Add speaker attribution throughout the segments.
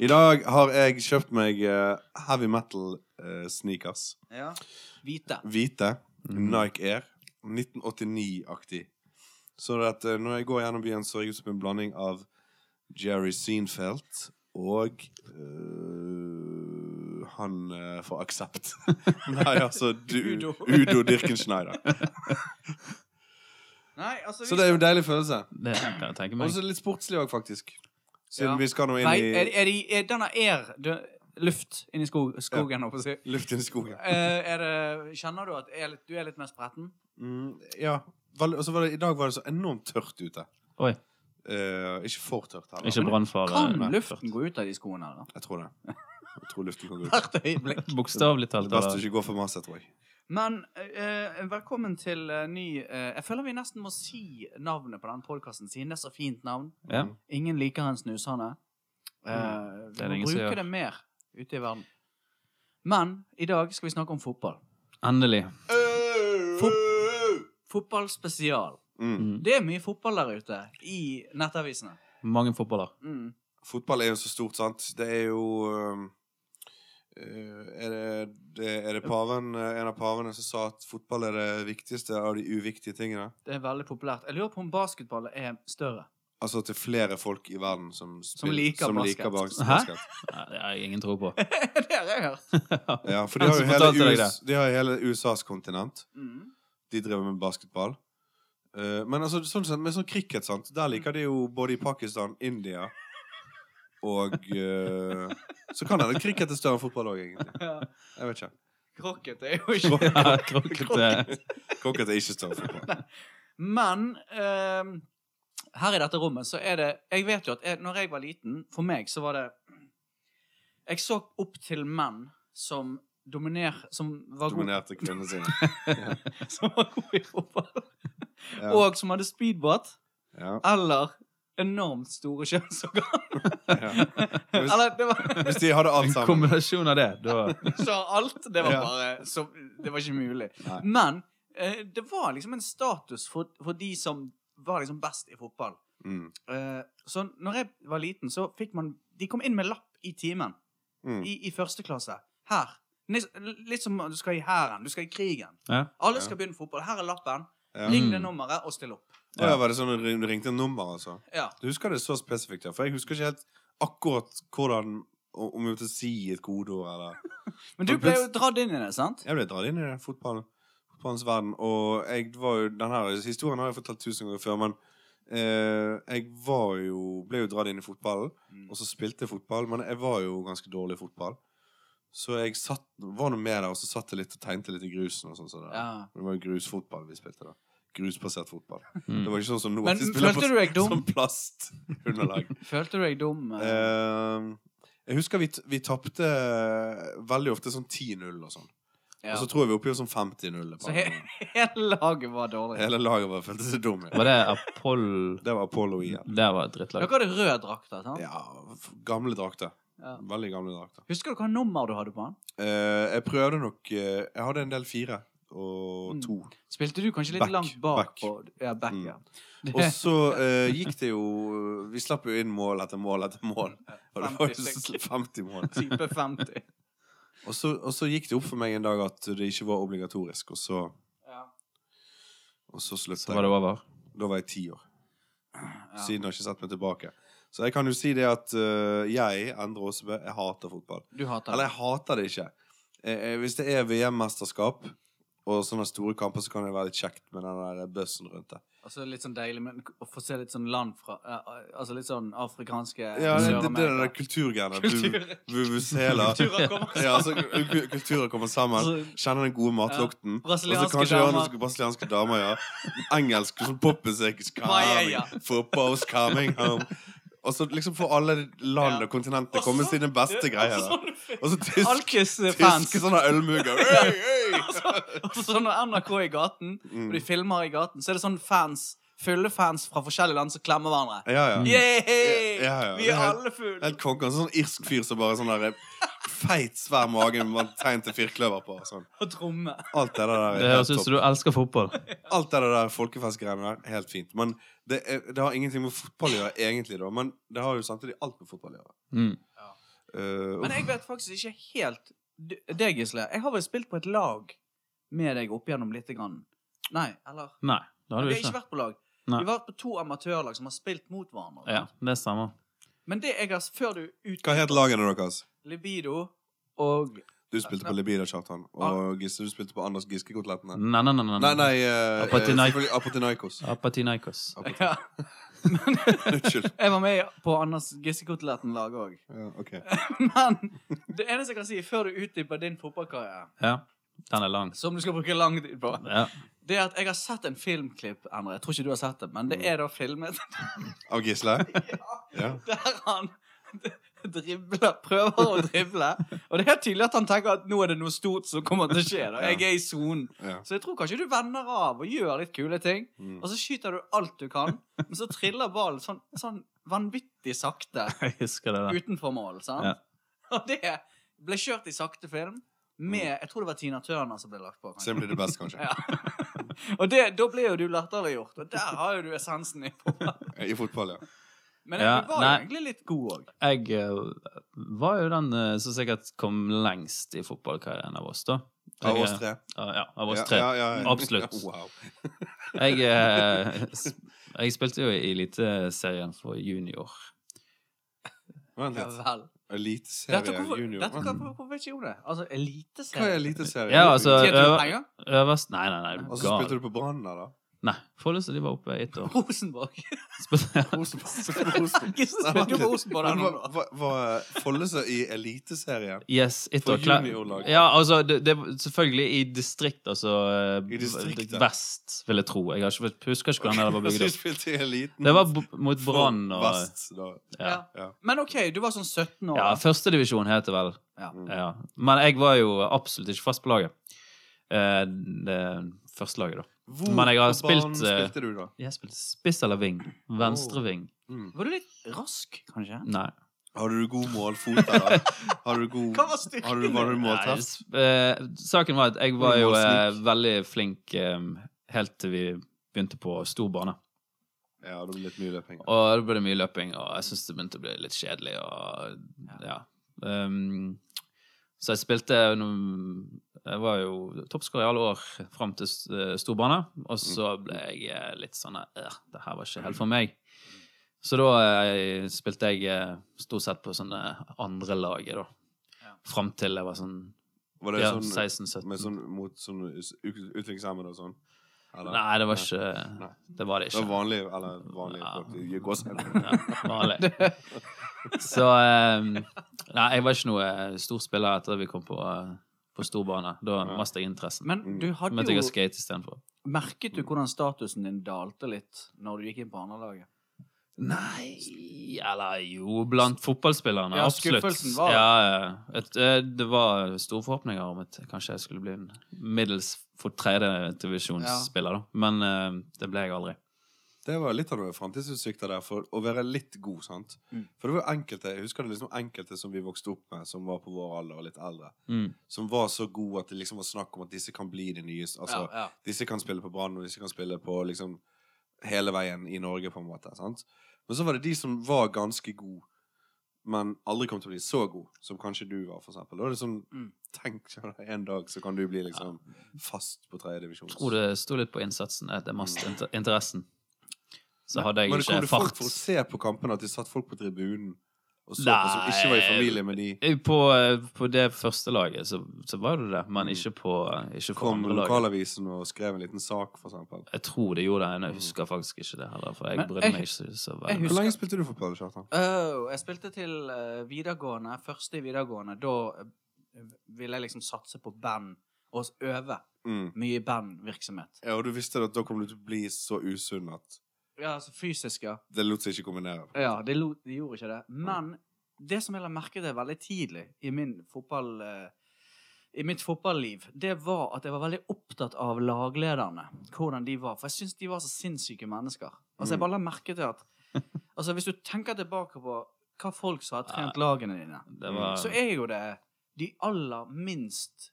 Speaker 1: I dag har jeg kjøpt meg eh, heavy metal eh, sneakers.
Speaker 2: Ja.
Speaker 3: Hvite.
Speaker 1: Hvite.
Speaker 3: Mhm.
Speaker 1: Nike Air. 1989-aktig. Så det at eh, når jeg går gjennom byen, så ser jeg ut som en blanding av Jerry Seinfeld og eh, han eh, fra Accept. Nei, altså du,
Speaker 3: Udo.
Speaker 1: Udo. Udo Dirkenschneider.
Speaker 2: Nei, altså
Speaker 1: Så det er jo en deilig følelse.
Speaker 4: Det kan jeg tenke
Speaker 1: Og
Speaker 4: meg.
Speaker 1: så litt sportslig òg, faktisk. Siden
Speaker 3: Ja.
Speaker 1: vi skal nå inn
Speaker 3: Nei, er,
Speaker 1: i
Speaker 3: er, de, er denne air dø- luft inni skog, skogen, holdt jeg på å si?
Speaker 1: luft inn i skogen.
Speaker 3: Eh, er det, kjenner du at er litt, du er litt mer spretten?
Speaker 1: Mm, ja. Vel, og så var det, I dag var det så enormt tørt ute.
Speaker 4: Oi.
Speaker 1: Eh, ikke for tørt heller.
Speaker 4: Ikke brannfare.
Speaker 3: Kan
Speaker 4: Nei,
Speaker 3: luften
Speaker 4: først.
Speaker 3: gå ut av de skoene? eller?
Speaker 1: Jeg tror det. Jeg tror luften kan gå ut.
Speaker 3: Hvert øyeblikk.
Speaker 4: Bokstavelig talt.
Speaker 1: Det beste å
Speaker 4: eller?
Speaker 1: ikke gå for masse, tror jeg.
Speaker 3: Men eh, velkommen til eh, ny eh, Jeg føler vi nesten må si navnet på den podkasten, siden det er så fint navn.
Speaker 4: Ja.
Speaker 1: Mm.
Speaker 3: Ingen liker en snusende. Eh,
Speaker 4: det er det
Speaker 3: vi
Speaker 4: ingen
Speaker 3: må
Speaker 4: som
Speaker 3: bruke
Speaker 4: gjør.
Speaker 3: det mer ute i verden. Men i dag skal vi snakke om fotball.
Speaker 4: Endelig.
Speaker 3: Fotballspesial.
Speaker 1: Mm.
Speaker 4: Mm.
Speaker 3: Det er mye fotball der ute i nettavisene.
Speaker 4: Mange fotballer.
Speaker 3: Mm.
Speaker 1: Fotball er jo så stort, sant. Det er jo um, eh, er, det, det, er det paven, eh, en av pavene som sa at fotball er det viktigste av de uviktige tingene?
Speaker 3: Det er veldig populært. Jeg lurer på om basketball er større.
Speaker 1: Altså til flere folk i verden som, spiller-
Speaker 3: liker
Speaker 1: som
Speaker 3: basket.
Speaker 1: liker bas-
Speaker 4: Hæ?
Speaker 1: basket.
Speaker 4: Nei, Det har jeg ingen tro på.
Speaker 3: det har jeg hørt.
Speaker 1: Ja, for de
Speaker 4: Han
Speaker 1: har jo
Speaker 4: som fortalte
Speaker 1: hele,
Speaker 4: deg
Speaker 1: US, de har jo hele USAs kontinent.
Speaker 3: Mm.
Speaker 1: De driver med basketball. Eh, men altså, sånn sett, med sånn cricket, sant Der liker de jo både i Pakistan, India og eh, Så kan hende cricket er større enn fotball òg, egentlig.
Speaker 3: Ja.
Speaker 1: Jeg vet ikke.
Speaker 3: Krokket er jo ikke
Speaker 4: Ja, krokket eh,
Speaker 1: Cricket er ikke større enn fotball.
Speaker 3: Men ehm, her i dette rommet så er det Jeg vet jo at jeg, når jeg var liten, for meg så var det Jeg så opp til menn som dominer... Som var gode
Speaker 1: Dominerte kvinnene sine.
Speaker 3: som var god i fotball.
Speaker 1: Ja.
Speaker 3: Og som hadde speedbåt.
Speaker 1: Ja,
Speaker 3: Eller enormt store kjønnsorgan.
Speaker 1: ja. Hvis,
Speaker 3: Eller det var
Speaker 1: hvis de hadde alt
Speaker 4: En
Speaker 1: sammen.
Speaker 4: kombinasjon av det. Da
Speaker 3: Så alt, det var
Speaker 1: Ja.
Speaker 3: bare så, Det var ikke mulig.
Speaker 1: Nei.
Speaker 3: Men eh, det var liksom en status for, for de som var liksom best i fotball.
Speaker 1: Mm.
Speaker 3: Eh, så når jeg var liten, så fikk man De kom inn med lapp i timen.
Speaker 1: Mm.
Speaker 3: I, I første klasse. Her. Nis- Litt som du skal i hæren. Du skal i krigen.
Speaker 4: Ja.
Speaker 3: Alle
Speaker 1: Ja.
Speaker 3: skal begynne fotball. Her er lappen.
Speaker 1: Ja. Mm.
Speaker 3: Ring det nummeret og still opp.
Speaker 1: Å, ja, var det sånn at du ringte nummer, altså?
Speaker 3: Ja.
Speaker 1: Du husker det så spesifikt, ja. For jeg husker ikke helt akkurat hvordan Om jeg måtte si et kodeord, eller
Speaker 3: Men du ble jo dratt inn i det, sant?
Speaker 1: Jeg ble dratt inn i det, fotballen. Fotballens verden. Og jeg var jo Den her historien har jeg fortalt tusen ganger før, men eh, jeg var jo Ble jo dratt inn i fotballen,
Speaker 3: Mm.
Speaker 1: og så spilte jeg fotball, men jeg var jo ganske dårlig i fotball. Så jeg satt, var nå med der, og så satt jeg litt og tegnte litt i grusen og sånn. som det der.
Speaker 3: Ja.
Speaker 1: Det var jo grusfotball vi spilte da. Grusbasert fotball.
Speaker 4: Mm.
Speaker 1: Det var ikke sånn som nå.
Speaker 3: Men
Speaker 1: at de spiller
Speaker 3: følte
Speaker 1: på
Speaker 3: du deg dum?
Speaker 1: Sånn plastunderlag.
Speaker 3: Følte du deg dum? eh?
Speaker 1: Eh, jeg husker vi, t- vi tapte veldig ofte sånn 10-0 og sånn.
Speaker 3: ja.
Speaker 1: Og så tror jeg vi er oppe i sånn 50-0.
Speaker 3: Så he hele laget var dårlig.
Speaker 1: Hele laget bare følte seg dum. Ja.
Speaker 4: Var det Apoll
Speaker 1: Det var Apollo igjen.
Speaker 4: Der var et drittlag.
Speaker 3: Dere hadde rød drakt. da, sant?
Speaker 1: Ja, f- gamle drakter.
Speaker 3: Ja.
Speaker 1: Veldig gamle drakter.
Speaker 3: Husker du hva nummer du hadde på den?
Speaker 1: Eh, jeg prøvde nok eh, Jeg hadde en del fire og
Speaker 3: Mm.
Speaker 1: to.
Speaker 3: Spilte du kanskje litt
Speaker 1: Back,
Speaker 3: langt bak?
Speaker 1: back.
Speaker 3: På, ja, back,
Speaker 1: Mm.
Speaker 3: ja.
Speaker 1: Og så eh, gikk det jo eh, Vi slapp jo inn mål etter mål etter mål. Og det var jo
Speaker 3: 50
Speaker 1: så-
Speaker 3: stykk.
Speaker 1: 50 mål.
Speaker 3: Type 50.
Speaker 1: Og så, og så gikk det opp for meg en dag at det ikke var obligatorisk, og så,
Speaker 3: Ja.
Speaker 1: og så
Speaker 4: Så
Speaker 1: slutta
Speaker 4: var det
Speaker 1: jeg.
Speaker 4: over.
Speaker 1: Da var jeg ti år. Siden har jeg ikke sett meg tilbake. Så jeg kan jo si det at eh, jeg, Endre Aasebø, jeg hater fotball.
Speaker 3: Du hater
Speaker 1: Eller
Speaker 3: det.
Speaker 1: jeg hater det ikke. Eh, eh, hvis det er VM-mesterskap og sånne store kamper, så kan det være litt kjekt med den der bøssen rundt det.
Speaker 3: Og så litt sånn deilig men å få se litt sånn land fra eh, Altså litt sånn afrikanske
Speaker 1: Ja, det, det, det er den der
Speaker 3: Sør-Amerika.
Speaker 1: kulturgreiene.
Speaker 3: Kultur-
Speaker 1: vu- Vuvuzela.
Speaker 3: Kulturer kommer
Speaker 1: Ja, altså, ku- ku- kulturer kommer sammen.
Speaker 3: Altså,
Speaker 1: Kjenner den gode matlukten. Og så
Speaker 3: Brasilianske
Speaker 1: kanskje
Speaker 3: damer.
Speaker 1: høre noen brasilianske damer, ja. Engelsk sånn popmusikk. is coming,
Speaker 3: Maia.
Speaker 1: Football's coming home. Og så liksom får alle land
Speaker 3: Ja.
Speaker 1: og kontinenter komme sine beste greier. da. Og så tysk,
Speaker 3: Alkis-fans.
Speaker 1: tyske sånne ølmugger. Hey, hey! Mm.
Speaker 3: Og så når NRK er i gaten, og de filmer i gaten, så er det sånn fans fyllefans fra forskjellige land som klemmer hverandre.
Speaker 1: Ja, ja.
Speaker 3: Yay!
Speaker 1: Ja, ja, ja.
Speaker 3: Vi er
Speaker 1: Helt-
Speaker 3: alle fulle!
Speaker 1: Helt konge. En sånn irsk fyr som bare sånn der feit, svær mage med tegn til firkløver på. og Sånn.
Speaker 3: Og tromme.
Speaker 1: Alt det der
Speaker 4: Det
Speaker 1: er
Speaker 4: høres
Speaker 1: helt
Speaker 4: ut
Speaker 1: topp.
Speaker 4: som du elsker fotball.
Speaker 1: Alt det der folkefestgreiene der, helt fint. Men det, er, det har ingenting med fotball å gjøre, egentlig, da. Men det har jo samtidig alt med fotball å gjøre.
Speaker 4: Mm.
Speaker 1: Eh,
Speaker 3: Men jeg vet faktisk ikke helt d- deg, Gisle. Jeg har vel spilt på et lag med deg opp igjennom lite grann. Nei, eller
Speaker 4: Nei, det har
Speaker 3: Vi
Speaker 4: du
Speaker 3: har ikke
Speaker 4: ikke.
Speaker 3: vært på lag.
Speaker 4: Nei.
Speaker 3: Vi har vært på to amatørlag som har spilt mot hverandre.
Speaker 4: Ja, det stemmer.
Speaker 3: Men det jeg har Før du ut
Speaker 1: hva het lagene deres?
Speaker 3: Libido og
Speaker 1: Du spilte på Libida, Kjartan.
Speaker 3: Ah.
Speaker 1: Og Gisle, du spilte på Anders Giske-kotelettene.
Speaker 4: Nei, nei, nei. nei,
Speaker 1: Nei, nei eh, eh,
Speaker 4: Apatinai-
Speaker 1: selvfølgelig Apatinaikos.
Speaker 4: Apatinaikos.
Speaker 1: Apatin-
Speaker 3: Ja.
Speaker 1: Unnskyld.
Speaker 3: Jeg var med på Anders Giskekoteletten-laget òg.
Speaker 1: Ja, ok.
Speaker 3: Men det eneste jeg kan si før du utdyper din fotballkarriere,
Speaker 4: Ja. Den er lang.
Speaker 3: som du skal bruke lang tid på,
Speaker 4: Ja.
Speaker 3: det er at jeg har sett en filmklipp, Endre. Jeg tror ikke du har sett det, men
Speaker 4: Mm.
Speaker 3: det er da filmet
Speaker 1: Av Gisle? Ja.
Speaker 3: der han dribler, prøver å drible. Og det er helt tydelig at han tenker at nå er det noe stort som kommer til å skje. Da. Jeg er i sonen.
Speaker 1: ja.
Speaker 3: Så jeg tror kanskje du vender av og gjør litt kule ting.
Speaker 1: Mm.
Speaker 3: Og så skyter du alt du kan, men så triller ballen sånn, sånn vanvittig sakte
Speaker 4: Jeg husker det der.
Speaker 3: utenfor mål. sant?
Speaker 4: Ja.
Speaker 3: Og det ble kjørt i sakte film med Jeg tror det var Tina Turner som ble lagt på. kanskje.
Speaker 1: Så blir det best, kanskje.
Speaker 3: Ja. Og det, da ble jo du latterliggjort, og der har jo du essensen i fotball.
Speaker 1: I fotball, ja.
Speaker 3: Men
Speaker 4: Ja,
Speaker 3: du var jo
Speaker 4: nei.
Speaker 3: egentlig litt god òg.
Speaker 4: Jeg eh, var jo den eh, som sikkert kom lengst i fotballkarrieren av oss, da.
Speaker 1: Av
Speaker 4: Jeg,
Speaker 1: oss
Speaker 4: eh,
Speaker 1: tre.
Speaker 4: Ja, av oss tre.
Speaker 1: Ja, ja, ja.
Speaker 4: Absolutt.
Speaker 1: Wow.
Speaker 4: Jeg, eh, s- jeg spilte jo i Eliteserien for junior.
Speaker 1: Vent
Speaker 3: Ja,
Speaker 1: litt.
Speaker 3: vel. Dette,
Speaker 1: Eliteserie
Speaker 3: hvorfor,
Speaker 1: junior.
Speaker 3: dette, hvorfor,
Speaker 1: Vent.
Speaker 3: hvorfor vet ikke jeg det? Altså,
Speaker 1: Hva er
Speaker 3: eliteserie?
Speaker 1: eliteserie?
Speaker 4: Ja, altså-
Speaker 3: Tjente du
Speaker 4: øver-
Speaker 3: penger?
Speaker 4: Øverst Nei, nei, nei, er
Speaker 1: Og
Speaker 4: du
Speaker 1: så Altså, spilte
Speaker 4: gal.
Speaker 1: du på Brann der, da?
Speaker 4: Nei, Follestad de var oppe i ett år.
Speaker 3: Rosenborg.
Speaker 4: Spilte-
Speaker 1: Rosenborg. Spilte på Rosenborg. Nei,
Speaker 3: Spilte
Speaker 1: vent
Speaker 3: jo på
Speaker 1: litt.
Speaker 3: Rosenborg der
Speaker 1: Men
Speaker 3: nå.
Speaker 1: Var, var, var Follese i Eliteserien?
Speaker 4: Yes, ett
Speaker 1: For
Speaker 4: år klar-
Speaker 1: juniorlag.
Speaker 4: Ja, altså, det, det, var selvfølgelig i distrikt, altså eh,
Speaker 1: I distriktet.
Speaker 4: Vest, vil jeg tro. Jeg har ikke, husker ikke hvordan det var bygd
Speaker 1: Så du
Speaker 4: opp.
Speaker 1: spilte i Eliten?
Speaker 4: Det var b- mot Brann og
Speaker 1: Vest, da.
Speaker 4: Ja,
Speaker 3: Ja.
Speaker 1: Ja.
Speaker 3: Men OK, du var sånn 17 år.
Speaker 4: ja førstedivisjon het det vel.
Speaker 3: Ja.
Speaker 4: Ja. Men jeg var jo absolutt ikke fast på laget. Eh, Det første laget, da.
Speaker 1: Hvor
Speaker 4: Men jeg har
Speaker 1: på banen
Speaker 4: spilt, eh,
Speaker 1: spilte du, da?
Speaker 4: Jeg spilte spiss eller ving. Venstre ving.
Speaker 1: Mm.
Speaker 3: Var du litt rask, kanskje?
Speaker 4: Nei.
Speaker 1: Hadde du god målfot, eller? Hadde du god
Speaker 3: Hva var styrken
Speaker 1: Hadde Mm. du, var du
Speaker 4: Nei,
Speaker 1: måltreff?
Speaker 4: s- eh, saken var at jeg var jo eh, veldig flink eh, helt til vi begynte på stor bane.
Speaker 1: Ja, det ble litt mye løping.
Speaker 4: Og det ble mye løping, og jeg syntes det begynte å bli litt kjedelig. Og, ja. Ehm, så jeg spilte noen- Jeg var jo toppskårer i alle år fram til s- eh, storbane. Og
Speaker 1: Mm.
Speaker 4: så ble jeg eh, litt sånn eh, Det her var ikke helt for meg. Så da eh, spilte jeg eh, stort sett på sånne andre laget, da.
Speaker 3: Ja.
Speaker 4: Fram til jeg var sånn
Speaker 1: Var det
Speaker 4: ja,
Speaker 1: sånn,
Speaker 4: 16-17.
Speaker 1: med sånn mot sånn ut- utviklingshemmede og sånn? Eller?
Speaker 4: Nei, det var ikke
Speaker 1: Nei.
Speaker 4: Det var det
Speaker 1: Det var
Speaker 4: ikke.
Speaker 1: vanlig, eller vanlig
Speaker 4: Ja.
Speaker 1: folk i gåsehudet.
Speaker 4: Ja, vanlig. Så eh, Nei, jeg var ikke noe eh, stor spiller etter at vi kom på, eh, på storbane. Da
Speaker 1: Nei.
Speaker 4: mistet jeg interessen.
Speaker 3: Men
Speaker 1: Mm.
Speaker 3: du
Speaker 4: Så
Speaker 3: hadde
Speaker 4: måtte jeg
Speaker 3: jo
Speaker 4: å skate istedenfor.
Speaker 3: Merket du hvordan statusen din dalte litt når du gikk inn på andrelaget?
Speaker 4: Nei Eller jo, blant fotballspillerne.
Speaker 3: Ja,
Speaker 4: absolutt.
Speaker 3: skuffelsen var-
Speaker 4: Ja, ja. Et, eh, det var store forhåpninger om at kanskje jeg skulle bli en middels for tredjedivisjonsspiller, da. Men eh, det ble jeg aldri.
Speaker 1: Det var litt av noen framtidsutsikter der, for å være litt god, sant.
Speaker 3: Mm.
Speaker 1: For det var jo enkelte jeg husker det liksom enkelte som vi vokste opp med, som var på vår alder og litt eldre,
Speaker 4: Mm.
Speaker 1: som var så gode at det liksom var snakk om at disse kan bli de nye Altså,
Speaker 3: ja,
Speaker 1: disse kan spille på Brann, og disse kan spille på liksom hele veien i Norge, på en måte. sant? Men så var det de som var ganske gode, men aldri kom til å bli så god, som kanskje du var, for eksempel. Da er det sånn,
Speaker 3: Mm.
Speaker 1: tenk deg det, en dag, så kan du bli liksom fast på tredje divisjon.
Speaker 4: Jeg tror det sto litt på innsatsen. at Det er mest inter interessen. Så hadde jeg
Speaker 1: Men kom
Speaker 4: ikke
Speaker 1: det folk
Speaker 4: fart.
Speaker 1: for å se på kampene at de satt folk på tribunen og så på som ikke var i
Speaker 4: Nei.
Speaker 1: familie med de
Speaker 4: Eh, På, på det første laget så, så var det det, men ikke på, eh, ikke på
Speaker 1: kom
Speaker 4: andre laget.
Speaker 1: lokalavisen og skrev en liten sak, for eksempel.
Speaker 4: Jeg tror det gjorde det, men jeg husker faktisk ikke det heller. For jeg
Speaker 3: Men
Speaker 4: brydde
Speaker 3: jeg-
Speaker 4: meg ikke så, så
Speaker 3: jeg
Speaker 4: veldig.
Speaker 1: Hvor
Speaker 3: husker-
Speaker 1: lenge spilte du fotball, Kjartan?
Speaker 3: Åh, jeg spilte til eh, videregående, første i videregående. Da eh, ville jeg liksom satse på band og s- øve
Speaker 1: Mm.
Speaker 3: mye i bandvirksomhet.
Speaker 1: Ja, og du visste at da kom du til å bli så usunn at
Speaker 3: Ja, altså fysisk, ja.
Speaker 1: det lot seg ikke kombinere.
Speaker 3: Ja, de, lo, de gjorde ikke det. Men det som jeg la merke til veldig tidlig i min fotballkarriere, eh, i mitt fotballiv, det var at jeg var veldig opptatt av laglederne. Hvordan de var. For jeg syns de var så sinnssyke mennesker. Altså, jeg bare la merke til at Altså, hvis du tenker tilbake på hva folk som har trent lagene dine,
Speaker 4: Det var
Speaker 3: så er jo det de aller minst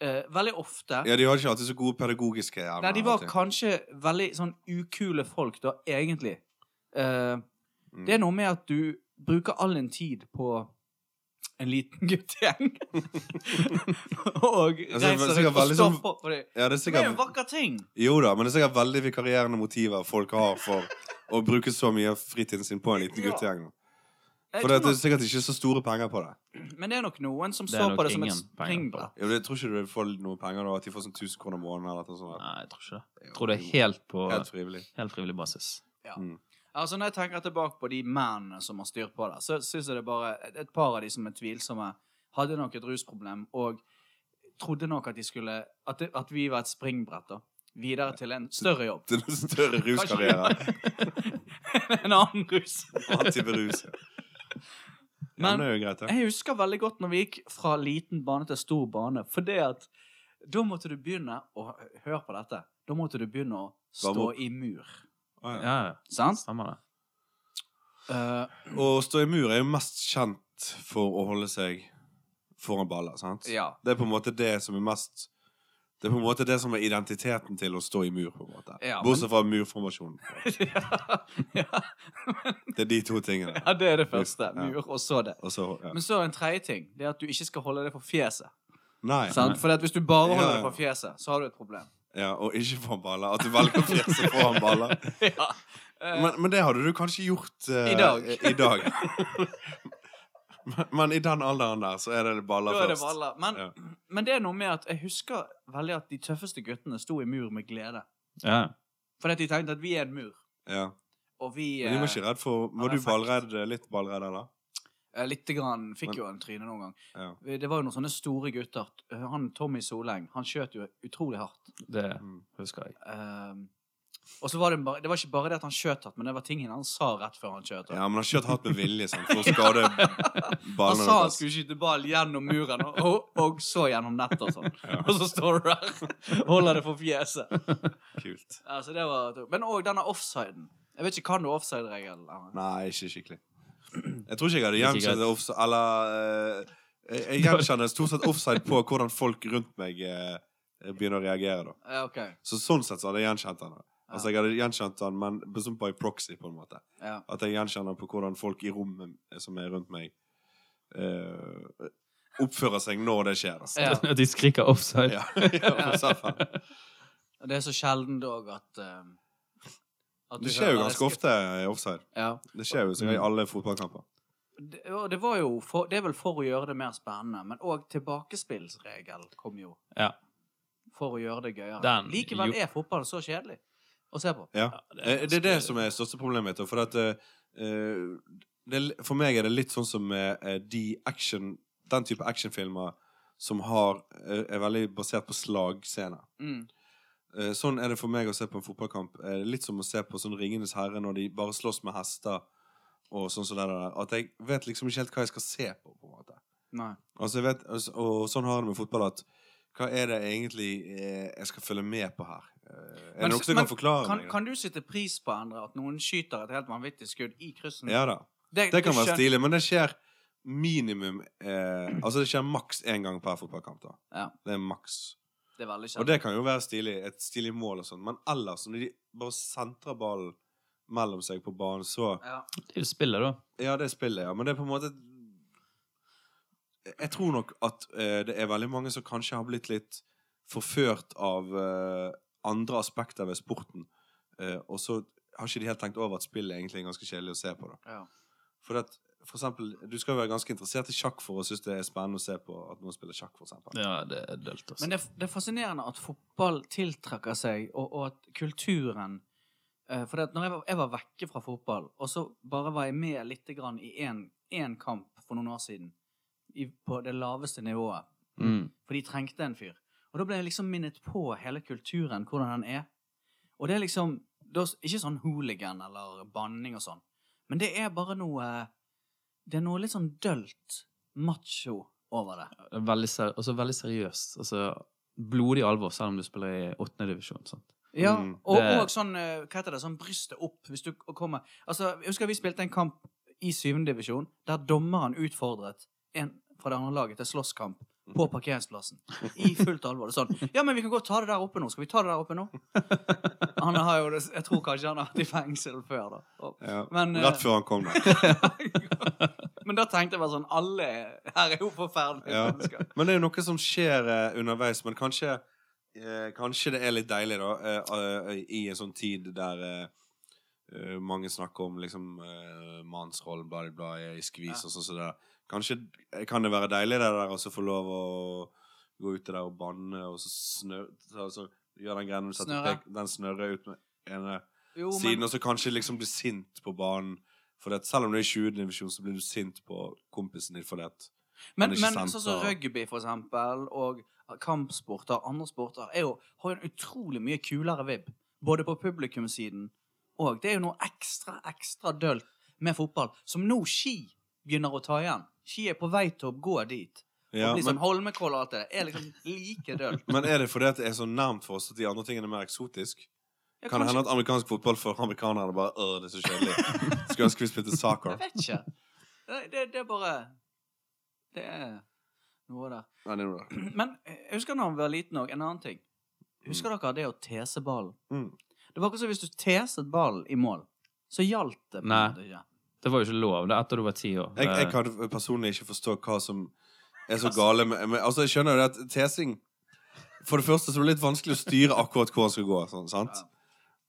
Speaker 3: eh, Veldig ofte
Speaker 1: Ja, de hadde ikke alltid så gode pedagogiske evner.
Speaker 3: Nei, de var
Speaker 1: alltid.
Speaker 3: kanskje veldig sånn ukule folk, da, egentlig. Eh,
Speaker 1: Mm.
Speaker 3: Det er noe med at du bruker all din tid på en liten guttegjeng. og
Speaker 1: Altså, det er
Speaker 3: reiser
Speaker 1: sikkert
Speaker 3: rundt og
Speaker 1: veldig
Speaker 3: står
Speaker 1: sånn-
Speaker 3: på for dem.
Speaker 1: ja, det er
Speaker 3: Det er jo en
Speaker 1: sikkert,
Speaker 3: vakker ting.
Speaker 1: jo da, men det er sikkert veldig vikarierende motiver folk har for å bruke så mye av fritiden sin på en liten
Speaker 3: Ja.
Speaker 1: guttegjeng.
Speaker 3: Jeg
Speaker 1: For
Speaker 3: tror
Speaker 1: det, det er sikkert ikke så store penger på det.
Speaker 3: nok, men det er nok noen som
Speaker 4: Det er
Speaker 3: så
Speaker 4: nok
Speaker 3: på det som et
Speaker 4: ingen penger på
Speaker 3: springbrett.
Speaker 1: Jo, det- Jeg tror ikke du får noe penger da, at de får sånn 1000 kroner måneden eller noe sånt.
Speaker 4: Nei, jeg tror ikke det. Jeg tror det er helt på
Speaker 1: Helt frivillig.
Speaker 4: helt frivillig basis.
Speaker 3: Altså, når jeg tenker tilbake på de mennene som har styrt på det, så syns jeg det er bare et- et par av de som er tvilsomme, hadde nok et rusproblem og trodde nok at de skulle At, det, at vi var et springbrett, da. Videre til en større jobb.
Speaker 1: Til en større ruskarriere.
Speaker 3: en annen rus.
Speaker 1: Alltid berus. Ja,
Speaker 3: Men-
Speaker 1: men det er jo greit, det.
Speaker 3: Jeg husker veldig godt når vi gikk fra liten bane til stor bane, for det at da måtte du begynne å Hør på dette. Da måtte du begynne å stå
Speaker 1: Varme opp.
Speaker 3: i mur.
Speaker 1: Å, ja.
Speaker 4: Ja,
Speaker 3: Sant?
Speaker 4: stemmer det.
Speaker 3: Eh,
Speaker 1: Å stå i mur er jo mest kjent for å holde seg foran baller, sant?
Speaker 3: ja.
Speaker 1: Det er på en måte det som er mest Det er på en måte det som er identiteten til å stå i mur, på en måte.
Speaker 3: Ja, men-
Speaker 1: Bortsett fra murformasjonen.
Speaker 3: ja.
Speaker 1: Det er de to tingene.
Speaker 3: Ja, det er det første.
Speaker 1: Ja.
Speaker 3: Mur, og så det.
Speaker 1: Og så ja.
Speaker 3: Men så er det en tredje ting. Det er at du ikke skal holde det for fjeset.
Speaker 1: Nei.
Speaker 3: Sant? For hvis du bare
Speaker 1: Ja,
Speaker 3: holder
Speaker 1: ja.
Speaker 3: det for fjeset, så har du et problem.
Speaker 1: Ja, og ikke foran baller. At du velger fjeset foran baller.
Speaker 3: ja. Eh,
Speaker 1: Men, men det hadde du kanskje gjort eh,
Speaker 3: I dag.
Speaker 1: i dag. men, men i den alderen der, så er det baller
Speaker 3: da er det
Speaker 1: først.
Speaker 3: baller. Men,
Speaker 1: Ja.
Speaker 3: men det er noe med at jeg husker veldig at de tøffeste guttene sto i mur med glede.
Speaker 4: Ja.
Speaker 3: Fordi at de tenkte at vi er en mur.
Speaker 1: Ja.
Speaker 3: Og vi
Speaker 1: Men du var
Speaker 3: eh,
Speaker 1: ikke redd for
Speaker 3: Ja,
Speaker 1: Var
Speaker 3: det er
Speaker 1: du ballredd, litt ballredd, eller?
Speaker 3: eh, lite grann fikk
Speaker 1: Men-
Speaker 3: jo en tryne noen gang.
Speaker 1: Ja.
Speaker 3: Det var jo noen sånne store gutter. Han Tommy Soleng, han skjøt jo utrolig hardt.
Speaker 4: Det
Speaker 1: Mm.
Speaker 4: husker jeg.
Speaker 3: Ehm, og så var det, bare, det var ikke bare det at han skjøt hardt, men det var tingene han sa rett før han skjøt. hardt.
Speaker 1: Ja, men han har kjørt hardt med vilje sant, for å skade
Speaker 3: Han
Speaker 1: ballene
Speaker 3: sa han
Speaker 1: deres.
Speaker 3: skulle skyte ball gjennom muren, og, og, og så gjennom nettet og sånn. Og så står du der holder det for fjeset.
Speaker 1: Kult.
Speaker 3: Altså, det var, men òg denne offsiden. Jeg vet ikke, Kan du offside-regelen? eller?
Speaker 1: Nei, ikke skikkelig. Jeg tror ikke jeg hadde
Speaker 4: Ikke
Speaker 1: gjenkjent
Speaker 4: greit.
Speaker 1: offside Eller eh, jeg- Jeg gjenkjenner stort sett offside på hvordan folk rundt meg eh, begynner å reagere, da.
Speaker 3: Ja, OK.
Speaker 1: Så sånn sett så hadde jeg gjenkjent den. da. Altså, jeg hadde gjenkjent den, men som by proxy, på en måte.
Speaker 3: Ja.
Speaker 1: At jeg gjenkjenner på hvordan folk i rommet som er rundt meg, eh, oppfører seg når det skjer. Altså.
Speaker 3: Ja.
Speaker 4: At de skriker offside.
Speaker 1: Ja, ja, for eksempel.
Speaker 3: Og det er så sjeldent òg at ehm, at
Speaker 1: det skjer jo
Speaker 3: hører-
Speaker 1: ganske ofte i offside.
Speaker 3: Ja.
Speaker 1: Det skjer jo sikkert i alle fotballkamper.
Speaker 3: Det, og det var jo for, Det er vel for å gjøre det mer spennende, men òg tilbakespillsregel kom jo.
Speaker 4: Ja.
Speaker 3: For å gjøre det gøyere.
Speaker 4: Den-
Speaker 3: Likevel
Speaker 4: jo-
Speaker 3: er fotball så kjedelig å se på.
Speaker 1: Ja.
Speaker 4: det
Speaker 1: Eh, Det er det som er største problemet mitt. da, For, at, eh, det, er li- for meg er det litt sånn som med eh, de action, den type actionfilmer som har, eh, er veldig basert på slagscener.
Speaker 3: Mm.
Speaker 1: Eh, Sånn er det for meg å se på en fotballkamp. Eh, Litt som å se på sånn Ringenes herre når de bare slåss med hester. Og sånn som det der. At jeg vet liksom ikke helt hva jeg skal se på. på en måte.
Speaker 3: Nei.
Speaker 1: Altså jeg vet, altså, Og sånn har jeg det med fotball. at Hva er det egentlig eh, jeg skal følge med på her? Eh, Er
Speaker 3: Men
Speaker 1: det
Speaker 3: s-
Speaker 1: noen som
Speaker 3: men
Speaker 1: kan forklare
Speaker 3: Kan,
Speaker 1: meg det?
Speaker 3: kan du sitte pris på Endre, at noen skyter et helt vanvittig skudd i kryssen?
Speaker 1: Ja da. Det
Speaker 3: du
Speaker 1: kan være
Speaker 3: skjøn-
Speaker 1: stilig, men det skjer minimum eh, Altså det skjer maks én gang per fotballkamp. da.
Speaker 3: Ja.
Speaker 1: Det er maks.
Speaker 3: Det er veldig
Speaker 1: Og
Speaker 3: kjent.
Speaker 1: det kan jo være stilig, et stilig mål og sånn, men ellers, når de bare sentrer ballen mellom seg på banen, så
Speaker 3: Ja.
Speaker 4: Det er jo spillet, da.
Speaker 1: Ja, det er spillet, ja. Men det er på en måte Jeg tror nok at eh, det er veldig mange som kanskje har blitt litt forført av eh, andre aspekter ved sporten. Eh, og så har ikke de helt tenkt over at spillet egentlig er ganske kjedelig å se på. da.
Speaker 3: Ja.
Speaker 1: For, at, for eksempel, du skal jo være ganske interessert i sjakk for å synes det er spennende å se på at noen spiller sjakk, for eksempel.
Speaker 4: Ja, det er dølt, altså.
Speaker 3: Men det, er- det er fascinerende at fotball tiltrekker seg, og, og at kulturen eh, For det at når jeg var, jeg var vekke fra fotball, og så bare var jeg med litt grann i én kamp for noen år siden, i, på det laveste nivået,
Speaker 4: mm.
Speaker 3: for de trengte en fyr. Og da ble jeg liksom minnet på hele kulturen, hvordan den er. Og det er liksom det er Ikke sånn hooligan eller banning og sånn, men det er bare noe Det er noe litt sånn dølt, macho over det.
Speaker 4: Veldig ser, også veldig seriøst. Altså, blodig alvor, selv om du spiller i åttende divisjon. Sant?
Speaker 3: Ja,
Speaker 1: Mm,
Speaker 3: og,
Speaker 4: det-
Speaker 3: og sånn eh, Hva heter det? Sånn brystet opp. Hvis du kommer Altså, jeg husker vi spilte en kamp i syvende divisjon der dommeren utfordret en fra det andre laget til slåsskamp på parkeringsplassen. I fullt alvor. Det er Sånn. Ja, men vi kan godt ta det der oppe nå. Skal vi ta det der oppe nå? Han har jo Jeg tror kanskje han har vært i fengsel før, da. Og,
Speaker 1: Ja.
Speaker 3: Men, eh,
Speaker 1: Rett før han kom der.
Speaker 3: men da tenkte jeg bare sånn Alle her er jo forferdelige
Speaker 1: Ja.
Speaker 3: mennesker.
Speaker 1: Men det er jo noe som skjer eh, underveis, men kanskje eh, Kanskje det er litt deilig, da, eh, eh, i en sånn tid der eh, eh, mange snakker om liksom eh, mannsrollen, bla, bla, bla, i skvis
Speaker 3: Ja.
Speaker 1: og sånn som det der. Kanskje eh, kan det være deilig, det der, å få lov å gå ute der og banne, og så snør... Altså, gjøre den greia når du setter
Speaker 3: Snørre.
Speaker 1: pek, den snørrer ut med ene
Speaker 3: Jo,
Speaker 1: siden, og så kanskje liksom bli sint på banen. For det, at selv om du er i 20. divisjon, så blir du sint på kompisen din for det. at- Men
Speaker 3: Men,
Speaker 1: det er
Speaker 3: men
Speaker 1: ikke
Speaker 3: sånn
Speaker 1: sant,
Speaker 3: som
Speaker 1: da.
Speaker 3: rugby, for eksempel, og kampsporter, andre sporter, er jo, har jo en utrolig mye kulere vibb. Både på publikumsiden og Det er jo noe ekstra, ekstra dølt med fotball, som nå ski begynner å ta igjen. Ski er på vei til å gå dit.
Speaker 1: Ja,
Speaker 3: og
Speaker 1: men-
Speaker 3: liksom Holmenkoll og alt det der er liksom like dølt.
Speaker 1: Men er det fordi at det er så nærmt for oss at de andre tingene er mer eksotisk?
Speaker 3: Ja,
Speaker 1: kan det
Speaker 3: kanskje-
Speaker 1: hende at amerikansk fotball for amerikanerne bare Åh, det er så kjedelig. Skulle ønske vi spilte soccer.
Speaker 3: Jeg vet ikke. Det, det, det er bare Det er noe der.
Speaker 1: Nei, det er noe der.
Speaker 3: Men eh, jeg husker da han var liten òg, en annen ting. Husker dere det å tese ballen?
Speaker 1: Mm.
Speaker 3: Det var akkurat som hvis du teset ballen i mål, så gjaldt det. på en
Speaker 4: Nei.
Speaker 3: måte ikke.
Speaker 4: Det var jo ikke lov. Det er etter du var ti år.
Speaker 1: Jeg, jeg
Speaker 4: Eh,
Speaker 1: kan personlig ikke forstå hva som er så gale med, med Altså, jeg skjønner jo det at tesing For det første så er det litt vanskelig å styre akkurat hvor han skal gå. Sånn, sant?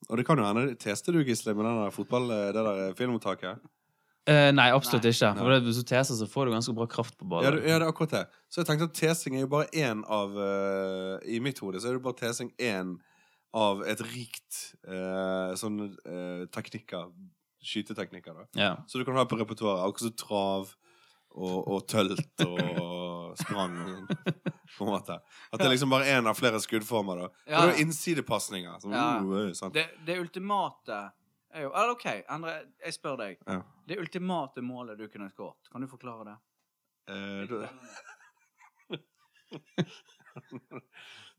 Speaker 1: Og det kan jo hende Teste du, Gisle, med den der fotball, eh, det der filmopptaket?
Speaker 4: eh, nei, absolutt ikke.
Speaker 1: Nei.
Speaker 4: For det, hvis du teser, så får du ganske bra kraft
Speaker 1: Ja,
Speaker 4: på
Speaker 1: det,
Speaker 4: ballen.
Speaker 1: ja, det er akkurat det. Så jeg tenkte at tesing er jo bare én av eh, I mitt hode så er det bare tesing én av et rikt eh, sånn eh, teknikker. Skyteteknikker, da.
Speaker 4: Ja.
Speaker 1: Så du kan ha på repertoaret. Akkurat som trav og, og tølt og sprang. og sånn, På en måte. At det er liksom bare én av flere skuddformer. da For det
Speaker 3: Ja.
Speaker 1: er jo innsidepasninger. Sånn,
Speaker 3: Ja.
Speaker 1: uh, uh, sant?
Speaker 3: Det, det ultimate er jo Eller OK, Endre, jeg spør deg.
Speaker 1: Ja.
Speaker 3: Det ultimate målet du kunne skåret, kan du forklare det?
Speaker 1: Eh, du,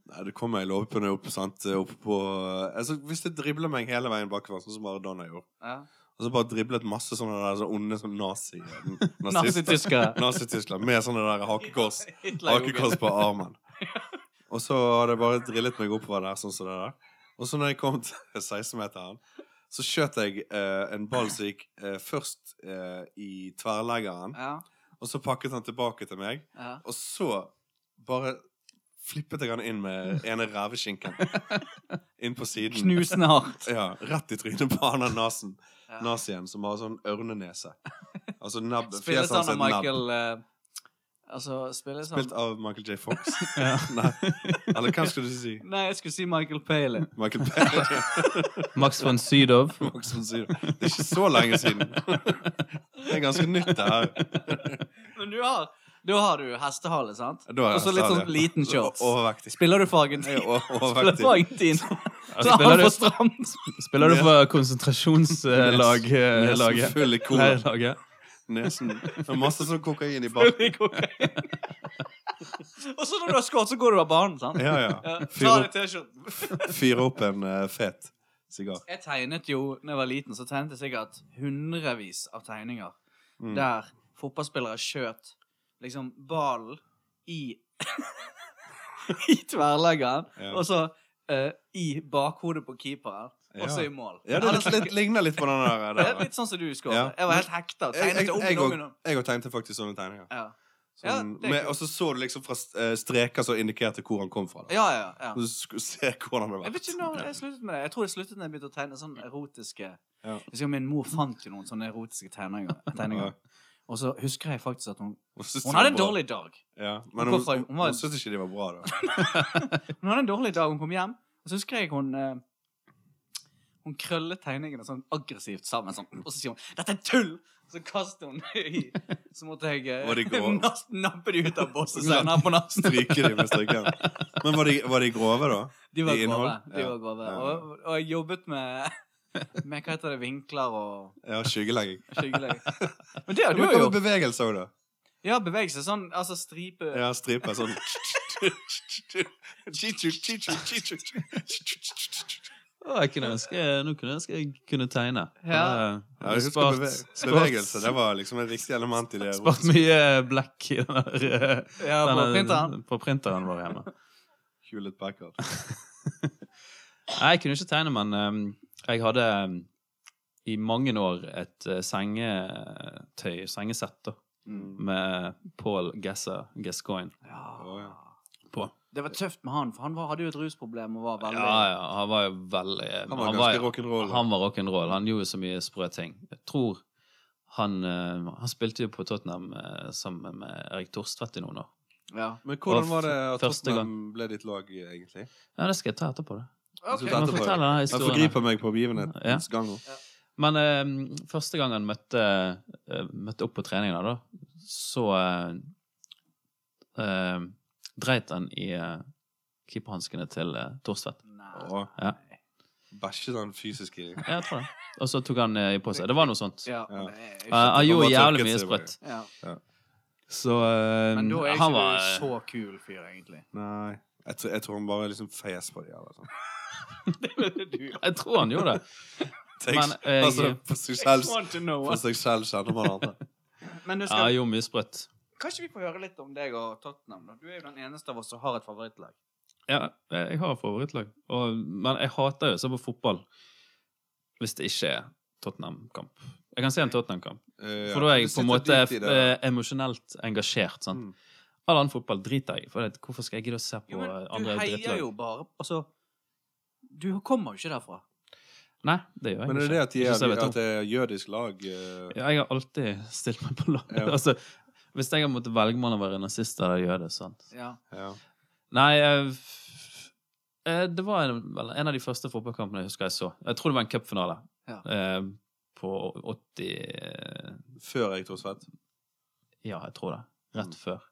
Speaker 1: nei, det kommer jeg lovpene opp, sant? Opp på, altså, hvis det dribler meg hele veien bakover, sånn som Maradona gjorde
Speaker 3: Ja.
Speaker 1: Og så bare driblet masse sånne der så onde sånn nazi nazister-
Speaker 4: Nazityskere.
Speaker 1: Nazityskere med sånne der hakekors
Speaker 3: Hitler gjorde
Speaker 1: Hakekors på armen. Og så hadde jeg bare drillet meg oppover der, sånn som det der. Og så når jeg kom til 16-meteren, så skjøt jeg eh, en ball som gikk eh, først eh, i tverrleggeren,
Speaker 3: Ja,
Speaker 1: og så pakket han tilbake til meg,
Speaker 3: ja.
Speaker 1: og så bare flippet jeg han inn med ene reveskinken. Inn på siden.
Speaker 3: Knusende hardt.
Speaker 1: Ja, rett i trynet på han der nasen,
Speaker 3: Ja.
Speaker 1: nazien som har sånn ørnenese. Altså nebb.
Speaker 3: Spilles
Speaker 1: fjeset hans er
Speaker 3: han av
Speaker 1: et nebb.
Speaker 3: Michael eh, Altså, spilles han
Speaker 1: Spilt av Michael J. Fox.
Speaker 4: Ja.
Speaker 1: Nei. Eller hva skulle du si?
Speaker 3: Nei, jeg skulle si Michael Palin.
Speaker 1: Michael Palin.
Speaker 4: Max von Sydow.
Speaker 1: Max von Sydow. Det er ikke så lenge siden. Det er ganske nytt, det her.
Speaker 3: Men du har, da har du hestehale, sant?
Speaker 1: Da er
Speaker 3: Og så litt
Speaker 1: jeg
Speaker 3: sånn
Speaker 1: stadig-
Speaker 3: liten shorts.
Speaker 1: O- Overvektig.
Speaker 3: Spiller du for
Speaker 1: Jeg er
Speaker 3: Argentina?
Speaker 1: o-
Speaker 3: Spiller du for
Speaker 1: overvektig.
Speaker 3: Argentina? Så
Speaker 4: spiller
Speaker 3: han
Speaker 4: du-
Speaker 3: får stramt.
Speaker 4: Spiller du for
Speaker 3: eh,
Speaker 4: konsentrasjonslaget?
Speaker 1: Nesen full i cola.
Speaker 4: Leirlaget?
Speaker 1: Nesen. Det er masse sånn kokain i bakken.
Speaker 3: Og så når du har skåret, så går du av banen, sant?
Speaker 1: Ja, ja.
Speaker 3: Ja, Ta
Speaker 1: Fyre
Speaker 3: deg T-skjorten.
Speaker 1: opp, fyre opp en eh, fet sigar.
Speaker 3: Jeg tegnet jo, når jeg var liten, så tegnet jeg sikkert hundrevis av tegninger
Speaker 1: Mm.
Speaker 3: der fotballspillere skjøt liksom ballen i I tverrleggeren,
Speaker 1: Ja.
Speaker 3: og så eh, i bakhodet på keeperen, og så
Speaker 1: Ja.
Speaker 3: i mål.
Speaker 1: Ja, det litt, litt, ligner litt på den der. eh,
Speaker 3: Det
Speaker 1: der.
Speaker 3: er litt sånn som du skåret.
Speaker 1: Ja.
Speaker 3: Jeg var helt hekta.
Speaker 1: Jeg- jeg-
Speaker 3: Tegnet det om
Speaker 1: jeg
Speaker 3: igjen, om
Speaker 1: og-
Speaker 3: igjen.
Speaker 1: Jeg òg tegnte faktisk sånne tegninger.
Speaker 3: Ja, Ja,
Speaker 1: Sånn,
Speaker 3: det er
Speaker 1: med,
Speaker 3: kult.
Speaker 1: og så så du liksom fra eh, streker som indikerte hvor han kom fra. Da.
Speaker 3: ja, ja. ja.
Speaker 1: Så du skulle se hvordan det var.
Speaker 3: Jeg vet ikke når jeg sluttet med det. Jeg tror jeg sluttet når jeg begynte å tegne sånne erotiske
Speaker 1: Ja.
Speaker 3: Husker Min mor fant jo noen sånne erotiske tegninger. tegninger. Og så husker jeg faktisk at hun
Speaker 1: Hun syntes
Speaker 3: Hun
Speaker 1: det var
Speaker 3: hadde en
Speaker 1: bra.
Speaker 3: dårlig dag.
Speaker 1: ja. Men
Speaker 3: Hun kom
Speaker 1: hun,
Speaker 3: fra-
Speaker 1: hun,
Speaker 3: hun var-
Speaker 1: hun syntes ikke de var bra, da.
Speaker 3: Hun hadde en dårlig dag, hun kom hjem, og så husker jeg hun eh, Hun krøllet tegningene sånn aggressivt sammen, sånn, og så sier hun 'Dette er tull!' Så kastet hun i Så måtte jeg
Speaker 1: Var de
Speaker 3: eh,
Speaker 1: grå?
Speaker 3: nas- nappe de ut av bosset senere på natten.
Speaker 1: Stryke de med strikken. Men var de, var de grove, da?
Speaker 3: De var
Speaker 1: I innhold?
Speaker 3: grove. De
Speaker 1: Ja.
Speaker 3: var grove.
Speaker 1: Ja.
Speaker 3: Og, og jeg jobbet med Med hva heter det, vinkler og
Speaker 1: Ja, skyggelegging.
Speaker 3: skyggelegging. Men det har
Speaker 1: Men
Speaker 3: du
Speaker 1: hva
Speaker 3: jo
Speaker 1: med
Speaker 3: gjort.
Speaker 1: bevegelse òg, da?
Speaker 3: Ja, bevegelse. Sånn altså stripe
Speaker 1: Ja, striper sånn.
Speaker 4: Å, jeg kunne ønske, nå kunne jeg ønske jeg kunne tegne.
Speaker 3: Ja.
Speaker 4: Eh,
Speaker 1: Ja, jeg husker
Speaker 4: spart-
Speaker 1: beve-
Speaker 4: spart-
Speaker 1: bevegelse. Det var liksom et viktig element i det.
Speaker 4: Spart mye black i den der, eh,
Speaker 3: Ja, på
Speaker 4: den der-
Speaker 3: printeren.
Speaker 4: på printeren vår hjemme.
Speaker 1: Hewlett Packard.
Speaker 4: Nei, jeg kunne ikke tegne, men ehm, jeg hadde ehm, i mange år et eh, sengetøy, sengesett, da,
Speaker 1: Mm.
Speaker 4: med Paul Gasser Gascoigne
Speaker 3: Ja.
Speaker 1: Å, ja.
Speaker 4: på.
Speaker 3: Det var tøft med han, for han var, hadde jo et rusproblem og var
Speaker 4: Ja,
Speaker 3: veldig
Speaker 4: ja, han var jo veldig
Speaker 1: Han var ganske rock'n'roll.
Speaker 4: Han var rock'n'roll. Han gjorde så mye sprø ting. Jeg tror han eh, Han spilte jo på Tottenham eh, sammen med Erik Torstvedt i noen år.
Speaker 3: Ja.
Speaker 1: Men hvordan var det at
Speaker 4: Første gang.
Speaker 1: Tottenham ble ditt lag, eh, egentlig?
Speaker 4: Ja, det skal jeg ta etterpå, det.
Speaker 1: Jeg
Speaker 3: Ok.
Speaker 4: Jeg må
Speaker 1: etterpå.
Speaker 4: fortelle denne
Speaker 1: Jeg
Speaker 4: historien. her.
Speaker 1: forgriper meg på
Speaker 4: Ja.
Speaker 1: begivenhetens gang nå.
Speaker 4: Men eh, første gang han møtte, eh, møtte opp på treningen, da, så eh, eh, dreit han i eh, keeperhanskene til eh, Thorstvedt.
Speaker 3: Nei.
Speaker 1: Å,
Speaker 4: Ja.
Speaker 1: Bæsjet han sånn fysisk i
Speaker 4: Ja, jeg tror det. Og så tok han eh, på seg. Det var noe sånt.
Speaker 3: Ja.
Speaker 1: Ja.
Speaker 3: det
Speaker 4: Eh,
Speaker 3: er ikke-
Speaker 4: han gjorde
Speaker 1: Han bare tørket
Speaker 4: jævlig mye
Speaker 1: seg bare.
Speaker 4: sprøtt.
Speaker 3: Ja.
Speaker 4: Så eh,
Speaker 3: Men da er ikke
Speaker 4: han var
Speaker 3: du så kul fyr, egentlig.
Speaker 1: Nei. Jeg tror, jeg tror han bare liksom fes på de eller sånn.
Speaker 4: eh, Jeg tror han gjorde det.
Speaker 1: Tenk,
Speaker 4: Men eh, jeg-
Speaker 1: altså, for seg selv,
Speaker 3: Want to know
Speaker 1: for
Speaker 3: what?
Speaker 1: seg selv kjenner man andre.
Speaker 3: Men du
Speaker 4: Ja, han
Speaker 3: skal,
Speaker 4: gjorde mye sprøtt.
Speaker 3: kanskje vi får høre litt om deg og Tottenham? da? Du er jo den eneste av oss som har et favorittlag.
Speaker 4: Ja, eh, jeg har favorittlag. Og, men jeg hater jo å se på fotball hvis det ikke er Tottenham-kamp. Jeg kan se en Tottenham-kamp,
Speaker 1: Eh, ja.
Speaker 4: for da er jeg
Speaker 1: Du
Speaker 4: på en måte
Speaker 1: sitter dit i det.
Speaker 4: eh, emosjonelt engasjert. Sant?
Speaker 1: Mm.
Speaker 4: All annen fotball driter jeg i. For det, hvorfor skal jeg gidde å se på
Speaker 3: Jo, men du
Speaker 4: andre
Speaker 3: heier
Speaker 4: drittlag?
Speaker 3: jo bare Altså, du kommer jo ikke derfra.
Speaker 4: Nei, det gjør jeg
Speaker 1: Men er det
Speaker 4: ikke.
Speaker 1: det at de
Speaker 4: Ikke så jeg
Speaker 1: er,
Speaker 4: vet om.
Speaker 1: at det er jødisk lag eh,
Speaker 4: Ja, jeg har alltid stilt meg på lag.
Speaker 1: Ja.
Speaker 4: altså, hvis jeg har måttet velge mellom å være nazist eller jøde, sant?
Speaker 3: Ja.
Speaker 1: ja.
Speaker 4: Nei eh, f- eh, Det var en, vel, en av de første fotballkampene jeg husker jeg så. Jeg tror det var en cupfinale.
Speaker 3: Ja.
Speaker 4: Eh, på 80 eh,
Speaker 1: Før Erik Thorsvedt.
Speaker 4: Ja, jeg tror det.
Speaker 1: Mm.
Speaker 4: Rett før.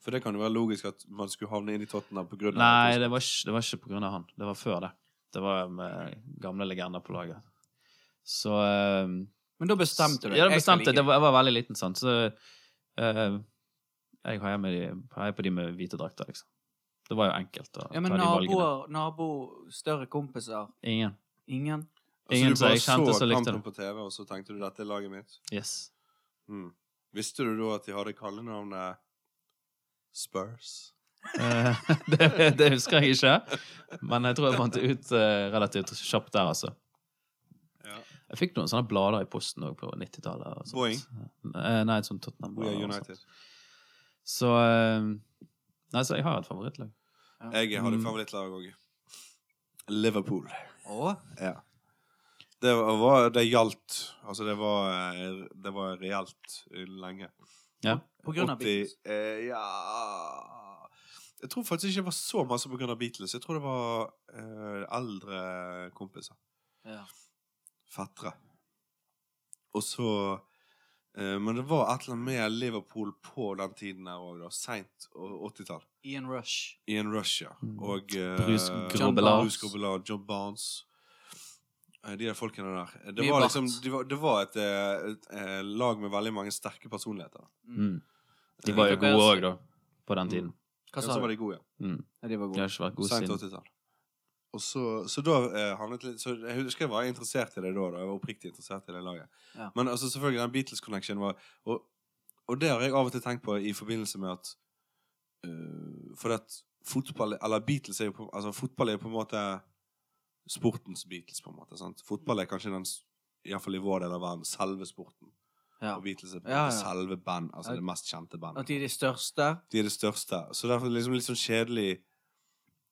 Speaker 1: For det kan jo være logisk at man skulle havne inn i Tottenham på grunn av
Speaker 4: Nei, det var, ikke, det var ikke på grunn av han. Det var før det. Det var med gamle legender på laget. Så eh,
Speaker 3: Men da bestemte du
Speaker 4: Ja, det
Speaker 3: Jeg skal
Speaker 4: bestemte.
Speaker 3: like
Speaker 4: Det var, jeg var veldig liten, sant. Så eh, jeg heier, med de, heier på de med hvite drakter, liksom. Det var jo enkelt å
Speaker 3: Ja, men
Speaker 4: ta de valgene.
Speaker 3: naboer, nabo, større kompiser
Speaker 4: Ingen.
Speaker 3: Ingen?
Speaker 1: Altså,
Speaker 4: Ingen
Speaker 1: du
Speaker 4: som
Speaker 1: bare
Speaker 4: jeg kjente,
Speaker 1: så
Speaker 4: som likte
Speaker 1: kampen
Speaker 4: det.
Speaker 1: på TV, og så tenkte du dette er laget mitt.
Speaker 4: Yes.
Speaker 1: Mm. Visste du da at de hadde kallenavnet Spurs?
Speaker 4: Eh, det, det husker jeg ikke, men jeg tror jeg fant det ut eh, relativt kjapt der, altså.
Speaker 1: Ja.
Speaker 4: Jeg fikk noen sånne blader i posten òg på 90-tallet. og sånt.
Speaker 1: Boeing?
Speaker 4: Eh, Nei, et sånt Tottenham.
Speaker 1: We are United.
Speaker 4: Så eh, Nei, så jeg har et favorittlag.
Speaker 1: Jeg hadde
Speaker 4: Mm.
Speaker 1: favorittlag òg. Liverpool.
Speaker 3: Å?
Speaker 1: Ja. Det var Det gjaldt. Altså, det var, eh, det var reelt lenge.
Speaker 4: Ja.
Speaker 3: På grunn av
Speaker 1: 80,
Speaker 3: Beatles.
Speaker 1: Eh, ja Jeg tror faktisk ikke det var så masse på grunn av Beatles. Jeg tror det var eh, eldre kompiser.
Speaker 3: Ja.
Speaker 1: Fettere. Og så eh, Men det var et eller annet med Liverpool på den tiden her òg, da. Seint 80-tall.
Speaker 3: Ian Rush.
Speaker 1: Ian Rush, ja.
Speaker 4: Mm.
Speaker 1: Og eh,
Speaker 4: Bruce
Speaker 3: John
Speaker 4: Grobbelaar.
Speaker 1: Bruce Grobbelaar, John Barnes. Eh, De der folkene der. Det
Speaker 3: Mye
Speaker 1: var,
Speaker 3: bart.
Speaker 1: liksom, det var, det var et, eh, et, eh, lag med veldig mange sterke personligheter.
Speaker 4: Mm. De var jo gode òg, da, på den tiden.
Speaker 1: Ja,
Speaker 3: Hva
Speaker 1: så
Speaker 3: sa
Speaker 1: var
Speaker 3: du?
Speaker 1: de gode, ja.
Speaker 4: Mm.
Speaker 3: Ja, de var
Speaker 4: De
Speaker 3: gode.
Speaker 4: har ikke vært gode
Speaker 1: Sent
Speaker 4: siden.
Speaker 1: 80-tall. Og så, så da eh, havnet litt så Jeg husker jeg var interessert i det da. da. Jeg var oppriktig interessert i det laget.
Speaker 3: Ja.
Speaker 1: Men altså, selvfølgelig, den Beatles-connection var og, og det har jeg av og til tenkt på i forbindelse med at eh, For at fotball Eller Beatles er jo på, altså, fotball er jo på en måte sportens Beatles, på en måte. Sant? Fotball er kanskje den s- i hvert fall i vår del av verden selve sporten.
Speaker 3: Ja.
Speaker 1: Og Beatles er på en
Speaker 3: Ja,
Speaker 1: måte
Speaker 3: ja.
Speaker 1: selve band, altså
Speaker 3: Ja.
Speaker 1: det mest kjente bandet
Speaker 3: At de er de største.
Speaker 1: de er det største. Så derfor er det liksom litt sånn kjedelig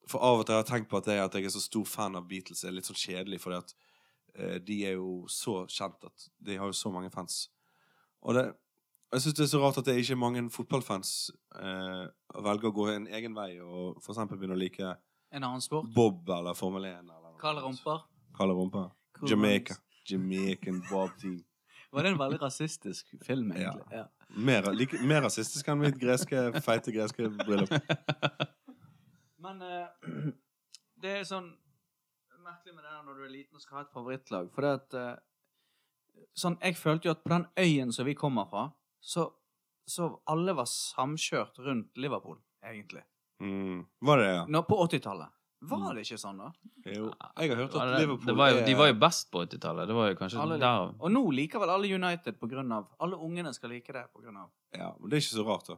Speaker 1: For av og til har jeg tenkt på at, det, at jeg er så stor fan av Beatles, er litt sånn kjedelig, fordi at eh, de er jo så kjent at de har jo så mange fans. Og det jeg syns det er så rart at det ikke er mange fotballfans eh, velger å gå en egen vei og for eksempel begynne å like
Speaker 3: En annen sport.
Speaker 1: Bob eller Formel 1. Eller
Speaker 3: Karl Rumper.
Speaker 1: Kalle rumpa.
Speaker 3: Cool
Speaker 1: Jamaica.
Speaker 3: Runnings.
Speaker 1: Jamaican Bob Team.
Speaker 3: Var det en veldig rasistisk film,
Speaker 1: Ja.
Speaker 3: egentlig? Ja.
Speaker 1: Mer, like, mer rasistisk enn mitt greske, feite greske bryllup.
Speaker 3: Men eh, det er sånn merkelig med det der når du er liten og skal ha et favorittlag. For det at eh, sånn, Jeg følte jo at på den øyen som vi kommer fra, så så alle var samkjørt rundt Liverpool, egentlig.
Speaker 1: Mm. Var det det? ja?
Speaker 3: Nå, på 80-tallet. Var det ikke sånn, da?
Speaker 1: Jo. Jeg har hørt
Speaker 4: Det var
Speaker 1: at
Speaker 4: det,
Speaker 1: Liverpool
Speaker 4: det var jo, de var jo
Speaker 1: er
Speaker 4: best på 80-tallet. Det var jo kanskje
Speaker 3: Alle
Speaker 4: der
Speaker 3: Og nå liker vel alle United på grunn av Alle ungene skal like det på grunn av
Speaker 1: Ja, men Det er ikke så rart, da.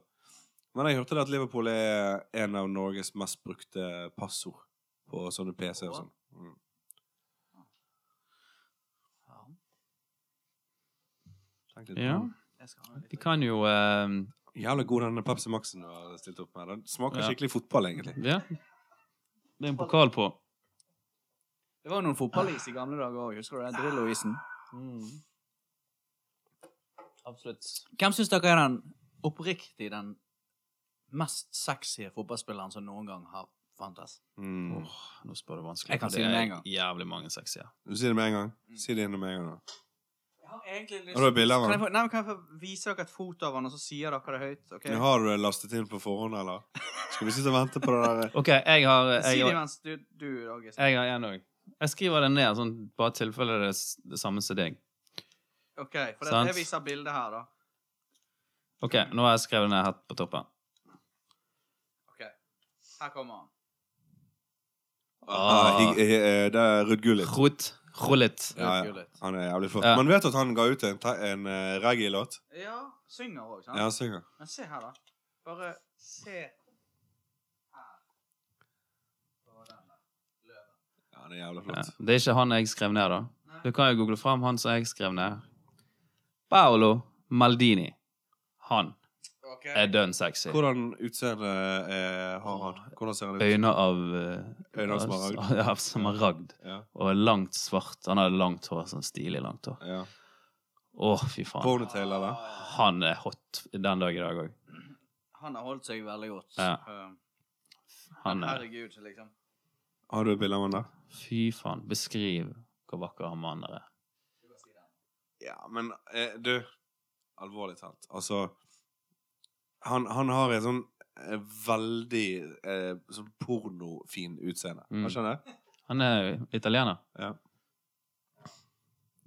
Speaker 1: Men jeg hørte det at Liverpool er en av Norges mest brukte passord på sånne PC-er og sånn. Mm.
Speaker 3: Ja,
Speaker 1: Tenk litt på
Speaker 4: Ja.
Speaker 1: den.
Speaker 3: jeg skal ha litt
Speaker 4: Vi kan jo eh,
Speaker 1: Jævla god denne Pepsi Maxen du har stilt opp med. Den smaker
Speaker 4: Ja.
Speaker 1: skikkelig fotball, egentlig.
Speaker 4: Ja. Det er en pokal på.
Speaker 3: Det var jo noen fotballis i gamle dager òg, husker du det? Drillo-isen. Mm.
Speaker 4: Absolutt.
Speaker 3: Hvem syns dere er den oppriktig den mest sexy fotballspilleren som noen gang har fantes?
Speaker 1: Mm.
Speaker 4: Åh, nå spør du vanskelig.
Speaker 3: Jeg kan
Speaker 4: for
Speaker 3: si det med
Speaker 4: er
Speaker 3: en gang.
Speaker 4: Jævlig mange sexy. Ja.
Speaker 1: Du sier det med en gang.
Speaker 4: Mm.
Speaker 1: Si det enda med en gang. da.
Speaker 3: Jeg har egentlig lyst
Speaker 1: Har du et bilde av
Speaker 3: kan jeg,
Speaker 1: han?
Speaker 3: få, nei, men kan jeg få vise dere et foto av han, og så sier dere det høyt? ok?
Speaker 1: Men Har du det lastet inn på forhånd, eller? Skal vi sitte og vente på det der? eh?
Speaker 4: OK, jeg har
Speaker 3: Si det
Speaker 4: jeg,
Speaker 3: mens du, du August.
Speaker 4: jeg har en òg. Jeg skriver den ned, sånn bare i tilfelle det er s- det samme som deg.
Speaker 3: OK, for det,
Speaker 4: Sant.
Speaker 3: jeg viser bildet her, da.
Speaker 4: OK, nå har jeg skrevet ned helt på toppen.
Speaker 3: Ok, Her kommer han.
Speaker 1: Ah,
Speaker 4: Ah.
Speaker 1: hig- eh, eh, det er Ruud Gullit.
Speaker 4: Rot. Rollet.
Speaker 1: Ja, ja.
Speaker 3: Gullit.
Speaker 1: Han er jævlig flott.
Speaker 4: Ja.
Speaker 1: Man vet at han ga ut en, te- en eh, reggae-låt.
Speaker 3: Ja, synger òg, sant?
Speaker 1: Ja, synger.
Speaker 3: Men se her, da. Bare se her. På den der løven.
Speaker 1: Ja, han er jævlig
Speaker 4: Ja.
Speaker 1: flott.
Speaker 4: Det er ikke han jeg skrev ned, da.
Speaker 3: Nei.
Speaker 4: Du kan jo google fram han som jeg skrev ned. Paolo Maldini. Han
Speaker 3: Ok.
Speaker 4: er dønn sexy.
Speaker 1: Hvordan utseende eh, har han? Hvordan ser han ut?
Speaker 4: Øyne av eh,
Speaker 1: Øyne av smaragd.
Speaker 4: Av smaragd.
Speaker 1: Ja.
Speaker 4: Og langt svart. Han har langt hår. Sånn stilig langt hår.
Speaker 1: ja.
Speaker 4: Å, fy faen.
Speaker 1: Ponytail, eller?
Speaker 4: Han er hot den dag i dag òg.
Speaker 3: Han har holdt seg veldig godt.
Speaker 4: Ja.
Speaker 3: Eh,
Speaker 4: Han er
Speaker 3: Herregud, liksom.
Speaker 1: Har du et bilde av han der?
Speaker 4: Fy faen. Beskriv hvor vakker han mannen er.
Speaker 1: Ja, men eh, du Alvorlig talt. Altså Han, han har et sånn eh, veldig eh, sånn pornofin utseende.
Speaker 4: Mm.
Speaker 1: Hva skjønner jeg?
Speaker 4: Han er italiener.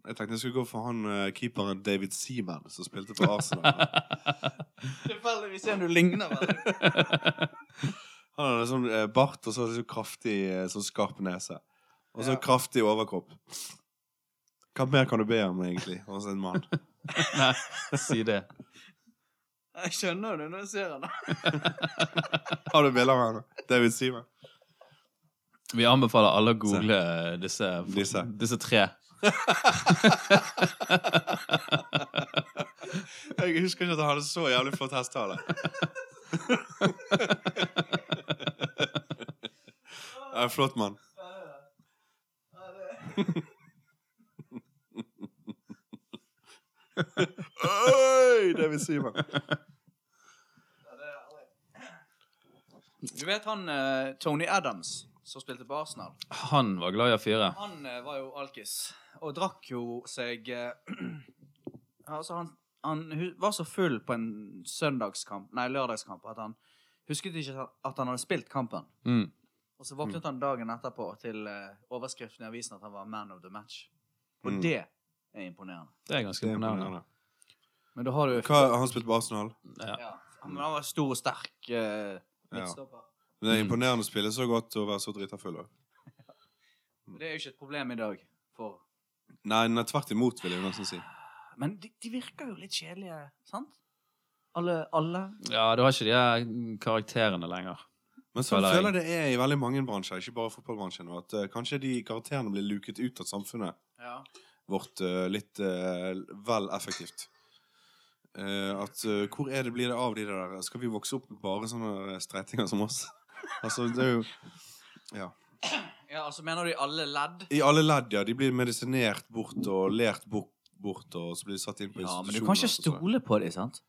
Speaker 1: Jeg tenkte jeg skulle gå for han eh, keeperen David Seaman som spilte for Arsenal.
Speaker 3: Tilfeldigvis en du ligner veldig.
Speaker 1: Han hadde sånn eh, bart og så hadde han sånn kraftig eh, sånn skarp nese. Og så
Speaker 3: Ja.
Speaker 1: kraftig overkropp. Hva mer kan du be om, egentlig, hos en mann?
Speaker 4: Nei, si det.
Speaker 3: Jeg skjønner det når jeg ser han.
Speaker 1: Har du bilder av han? David Seaman.
Speaker 4: Vi anbefaler alle å google eh, disse, disse.
Speaker 1: Disse.
Speaker 4: tre.
Speaker 1: Jeg husker ikke at han hadde så jævlig flott hestehale. Ja, flott mann. Oi, David Seaman.
Speaker 3: Du vet han eh, Tony Adams, som spilte på Arsenal?
Speaker 4: Han var glad i å fyre.
Speaker 3: Han eh, var jo alkis, og drakk jo seg eh, Altså, han, han hu- var så full på en søndagskamp, nei, lørdagskamp, at han husket ikke at han- at han hadde spilt kampen.
Speaker 4: Mm.
Speaker 3: Og så våknet han dagen etterpå til eh, overskriften i avisen at han var man of the match. Og
Speaker 1: Mm.
Speaker 3: det er imponerende.
Speaker 4: Det er ganske
Speaker 1: Det er
Speaker 4: imponerende.
Speaker 1: imponerende.
Speaker 3: Men da har du
Speaker 1: Hva, han spilte på Arsenal.
Speaker 4: Ja.
Speaker 3: ja. Men han var stor og sterk eh, midtstopper.
Speaker 1: Det
Speaker 4: Mm.
Speaker 1: er imponerende å spille så godt og være så drita full. også.
Speaker 3: Og Det er jo ikke et problem i dag. For...
Speaker 1: Nei, nei, tvert imot, vil jeg jo nesten si.
Speaker 3: Men de, de virker jo litt kjedelige, sant? Alle, alle
Speaker 4: ja, du har ikke de her karakterene lenger.
Speaker 1: Men så
Speaker 4: Føler jeg.
Speaker 1: føler jeg det er i veldig mange bransjer, ikke bare fotballbransjen, og at eh, kanskje de karakterene blir luket ut av samfunnet
Speaker 3: Ja.
Speaker 1: vårt eh, litt eh, vel effektivt. Eh, at eh, Hvor er det blir det av de der? Skal vi vokse opp med bare sånne eh, streitinger som oss? altså, det er jo
Speaker 3: ja, altså mener du i alle ledd?
Speaker 1: I alle ledd, ja. De blir medisinert bort og lært bort, bort og så blir de satt inn på
Speaker 3: Ja, men du
Speaker 1: institusjoner.
Speaker 3: kan
Speaker 1: og
Speaker 3: ikke
Speaker 1: sånn.
Speaker 3: stole på dem, sant?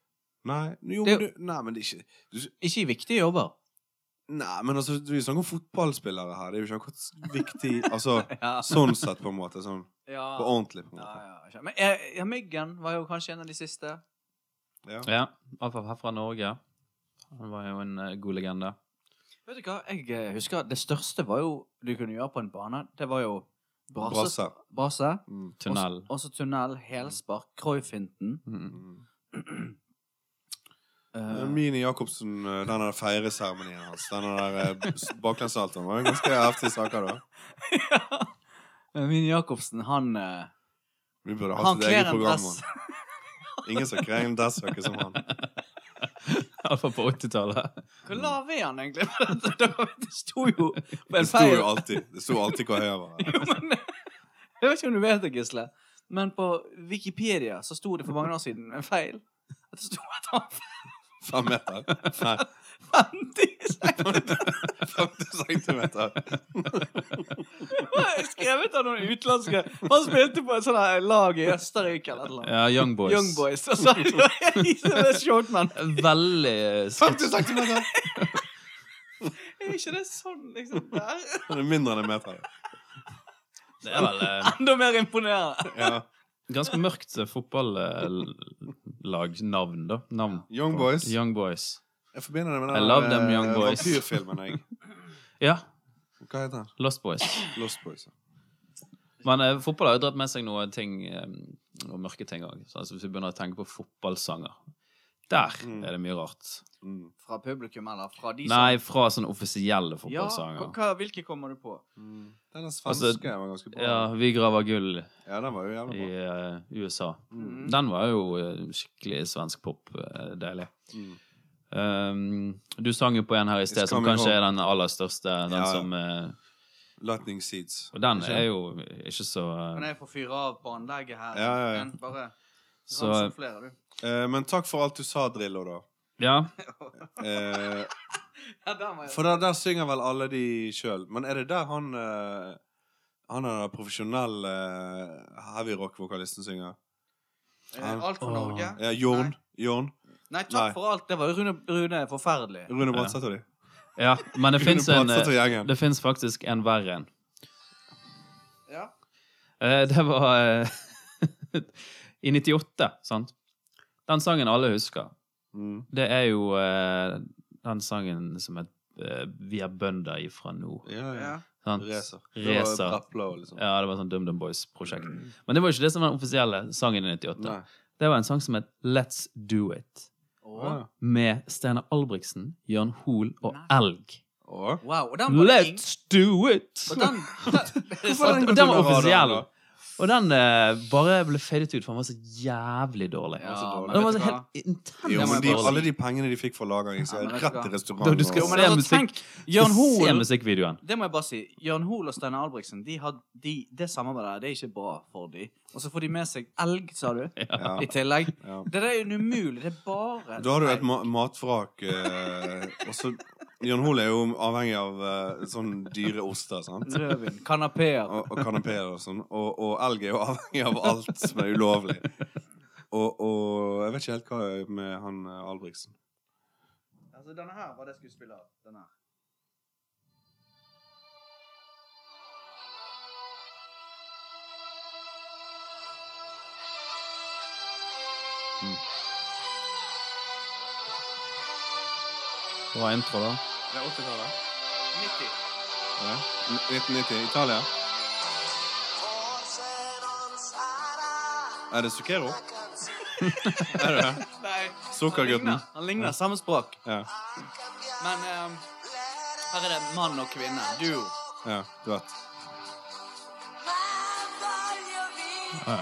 Speaker 1: Nei, jo,
Speaker 3: Det er
Speaker 1: men du, nei, men det er ikke
Speaker 3: Ikke i viktige jobber.
Speaker 1: Nei, men altså, vi snakker om fotballspillere her. Det er jo ikke akkurat viktig Altså,
Speaker 3: Ja,
Speaker 1: sånn sett, på en måte. Sånn
Speaker 3: ja.
Speaker 1: på ordentlig, på en
Speaker 3: ja,
Speaker 1: måte.
Speaker 3: ja, ikke- Men eh, ja, Myggen var jo kanskje en av de siste.
Speaker 1: Ja.
Speaker 4: Ja, Iallfall her fra Norge. Han var jo en eh, god legende.
Speaker 3: Vet du hva, jeg eh, husker at det største var jo du kunne gjøre på en bane. Det var jo brase.
Speaker 1: Brasse.
Speaker 3: brase.
Speaker 1: Mm.
Speaker 4: Tunnel.
Speaker 3: Også, også tunnel, helspark, Cruyff-hinten.
Speaker 4: Mm.
Speaker 1: Mm.
Speaker 3: Eh,
Speaker 1: Mini Jacobsen, eh, den der feireseremonien hans, den der eh, baklengssaltoen, var jo ganske heftige saker, da.
Speaker 3: Min Jacobsen, han eh,
Speaker 1: Vi burde hatt
Speaker 3: Han
Speaker 1: et eget
Speaker 3: kler en
Speaker 1: program.
Speaker 3: dress.
Speaker 1: mann. Ingen som kler en dressjakke som han.
Speaker 4: Iallfall på 80-tallet.
Speaker 3: Hvor lav er han egentlig? det sto jo på
Speaker 1: Det
Speaker 3: en
Speaker 1: sto
Speaker 3: feil.
Speaker 1: jo alltid Det sto alltid hva jeg var.
Speaker 3: Jo, men, jeg vet ikke om du vet det, Gisle, men på Wikipedia så sto det for mange år siden en feil. At det sto at han
Speaker 1: Fem meter? Nei,
Speaker 3: var 50 centimeter.
Speaker 1: 50 centimeter.
Speaker 3: Skrevet av noen utenlandske Han spilte på et sånt her lag i Østerrike eller noe.
Speaker 4: Ja, Young Boys.
Speaker 3: Young Boys. Og så er shortman.
Speaker 4: Veldig
Speaker 1: 50
Speaker 4: sketsj.
Speaker 1: centimeter!
Speaker 3: Er ikke det sånn, liksom? Der?
Speaker 1: Det er mindre enn en meter.
Speaker 4: Det er vel eh,
Speaker 3: Enda mer imponerende.
Speaker 1: Ja.
Speaker 4: ganske mørkt eh, fotballagnavn, da. Navn.
Speaker 1: Young Boys.
Speaker 4: Young Boys.
Speaker 1: Jeg forbinder det med
Speaker 4: I
Speaker 1: den
Speaker 4: love them young
Speaker 1: eh,
Speaker 4: boys.
Speaker 1: vampyrfilmen. jeg.
Speaker 4: Ja.
Speaker 1: Hva heter den?
Speaker 4: Lost Boys.
Speaker 1: Lost Boys. ja.
Speaker 4: Men eh, fotball har jo dratt med seg noen ting, eh, noen mørke ting òg. Altså, hvis vi begynner å tenke på fotballsanger Der
Speaker 1: Mm.
Speaker 4: er det mye rart.
Speaker 1: Mm.
Speaker 3: Fra publikum, eller fra de
Speaker 4: Nei, fra sånne offisielle
Speaker 3: som ja, hva,
Speaker 4: fotballsanger.
Speaker 3: hva- Hvilke kommer du på?
Speaker 1: Mm. Den svenske var ganske bra.
Speaker 4: Ja, Vi graver gull
Speaker 1: Ja, den var jo jævlig
Speaker 4: i
Speaker 1: bra.
Speaker 4: eh, USA.
Speaker 1: Mm.
Speaker 4: Den var jo eh, skikkelig svensk pop. eh, Deilig.
Speaker 1: Mm.
Speaker 4: Um, du sang jo på en her i sted
Speaker 1: It's
Speaker 4: som
Speaker 1: coming
Speaker 4: kanskje er
Speaker 1: home.
Speaker 4: den aller største. Den
Speaker 1: Ja, ja.
Speaker 4: som eh,
Speaker 1: Lightning Seeds.
Speaker 4: Og den
Speaker 1: Ikke
Speaker 4: er jo ikke så
Speaker 3: Kan
Speaker 4: eh,
Speaker 3: jeg få fyre av på anlegget her?
Speaker 1: Ja, ja, ja.
Speaker 3: Men Bare
Speaker 4: Så
Speaker 3: ransom flere, du.
Speaker 1: Eh, men takk for alt du sa, Drillo, da.
Speaker 4: Ja.
Speaker 1: Eh,
Speaker 3: Ja, der var jeg.
Speaker 1: for der, der synger vel alle de sjøl. Men er det der han eh, Han er den profesjonelle eh, heavy rock-vokalisten synger?
Speaker 3: Eh, Alt for
Speaker 4: Åh.
Speaker 3: Norge.
Speaker 1: Ja, Jorn. Jorn.
Speaker 3: Nei, takk
Speaker 1: Nei.
Speaker 3: for alt. Det var jo Rune, Rune forferdelig.
Speaker 1: Rune Bratseth og de.
Speaker 4: ja. Men det
Speaker 1: Rune
Speaker 4: fins en
Speaker 1: Bratseth og
Speaker 4: eh,
Speaker 1: gjengen.
Speaker 4: Det fins faktisk en verre en.
Speaker 3: Ja.
Speaker 4: Eh, Det var eh, I 98, sant? Den sangen alle husker,
Speaker 1: Mm.
Speaker 4: det er jo eh, den sangen som het eh, Vi er bønder ifra nå.
Speaker 1: Ja, ja.
Speaker 3: ja.
Speaker 4: Sant?
Speaker 1: Racer. Det
Speaker 4: Racer.
Speaker 1: var Brapla og liksom.
Speaker 4: Ja, det var sånn DumDum Boys-prosjekt. Men det var jo ikke det som var den offisielle sangen i 98.
Speaker 1: Nei.
Speaker 4: Det var en sang som het Let's Do It.
Speaker 1: Ja.
Speaker 3: Åh.
Speaker 4: Med Steinar Albrigtsen, Jørn Hoel og
Speaker 3: Nei.
Speaker 4: Elg.
Speaker 1: Og
Speaker 3: Wow. Og den var
Speaker 4: Let's do it!
Speaker 3: Og den, den
Speaker 1: Hvorfor
Speaker 4: den,
Speaker 1: går på
Speaker 4: den var
Speaker 1: radaren,
Speaker 4: offisiell.
Speaker 1: da?
Speaker 4: Og den eh, bare ble fadet ut, for den var så jævlig dårlig. altså.
Speaker 3: Ja,
Speaker 1: så
Speaker 3: men
Speaker 1: dårlig.
Speaker 4: den var
Speaker 3: vet
Speaker 4: så
Speaker 3: du hva?
Speaker 4: helt
Speaker 1: Jo,
Speaker 3: Det må
Speaker 4: intens
Speaker 1: men
Speaker 3: jeg
Speaker 1: de,
Speaker 3: bare
Speaker 1: alle
Speaker 4: dårlig.
Speaker 1: de pengene de fikk for lagringen, så
Speaker 3: Ja,
Speaker 1: er
Speaker 3: men vet
Speaker 1: rett
Speaker 3: du
Speaker 1: til
Speaker 3: hva?
Speaker 1: restaurant.
Speaker 4: Du skal
Speaker 1: og-
Speaker 3: Jo, men
Speaker 4: se
Speaker 3: altså,
Speaker 4: musikk-
Speaker 3: tenk, Jørn
Speaker 4: Se
Speaker 3: Hoel
Speaker 4: musikkvideoen.
Speaker 3: Det må jeg bare si. Jørn Hoel og Steinar Albrigtsen, de har, de, det samarbeidet der, det er ikke bra for de. Og så får de med seg elg, sa du,
Speaker 1: Ja,
Speaker 3: i tillegg.
Speaker 1: ja.
Speaker 3: Det der er jo umulig. Det er bare
Speaker 1: Da har du et ma matvrak eh, Og så Jan Hoel er jo avhengig av eh, sånn dyre oster, sant?
Speaker 3: Rødvin. Kanapeer.
Speaker 1: Og, og kanapeer og sånn. Og, og elg er jo avhengig av alt som er ulovlig. Og, og jeg vet ikke helt hva med han eh, Albrigtsen.
Speaker 3: Altså, denne her var det jeg skulle spille av. Denne her.
Speaker 4: Bra intro, da.
Speaker 1: Det er 80-tallet.
Speaker 3: 90.
Speaker 1: Ja. 1990. Italia. Er det Zucchero? Er det det?
Speaker 3: Nei.
Speaker 1: Sukkergutten.
Speaker 3: Han ligner. Han ligner. Samme språk.
Speaker 1: Ja.
Speaker 3: Men ehm, her er det mann og kvinne. Duo.
Speaker 1: ja du vet.
Speaker 4: Ah,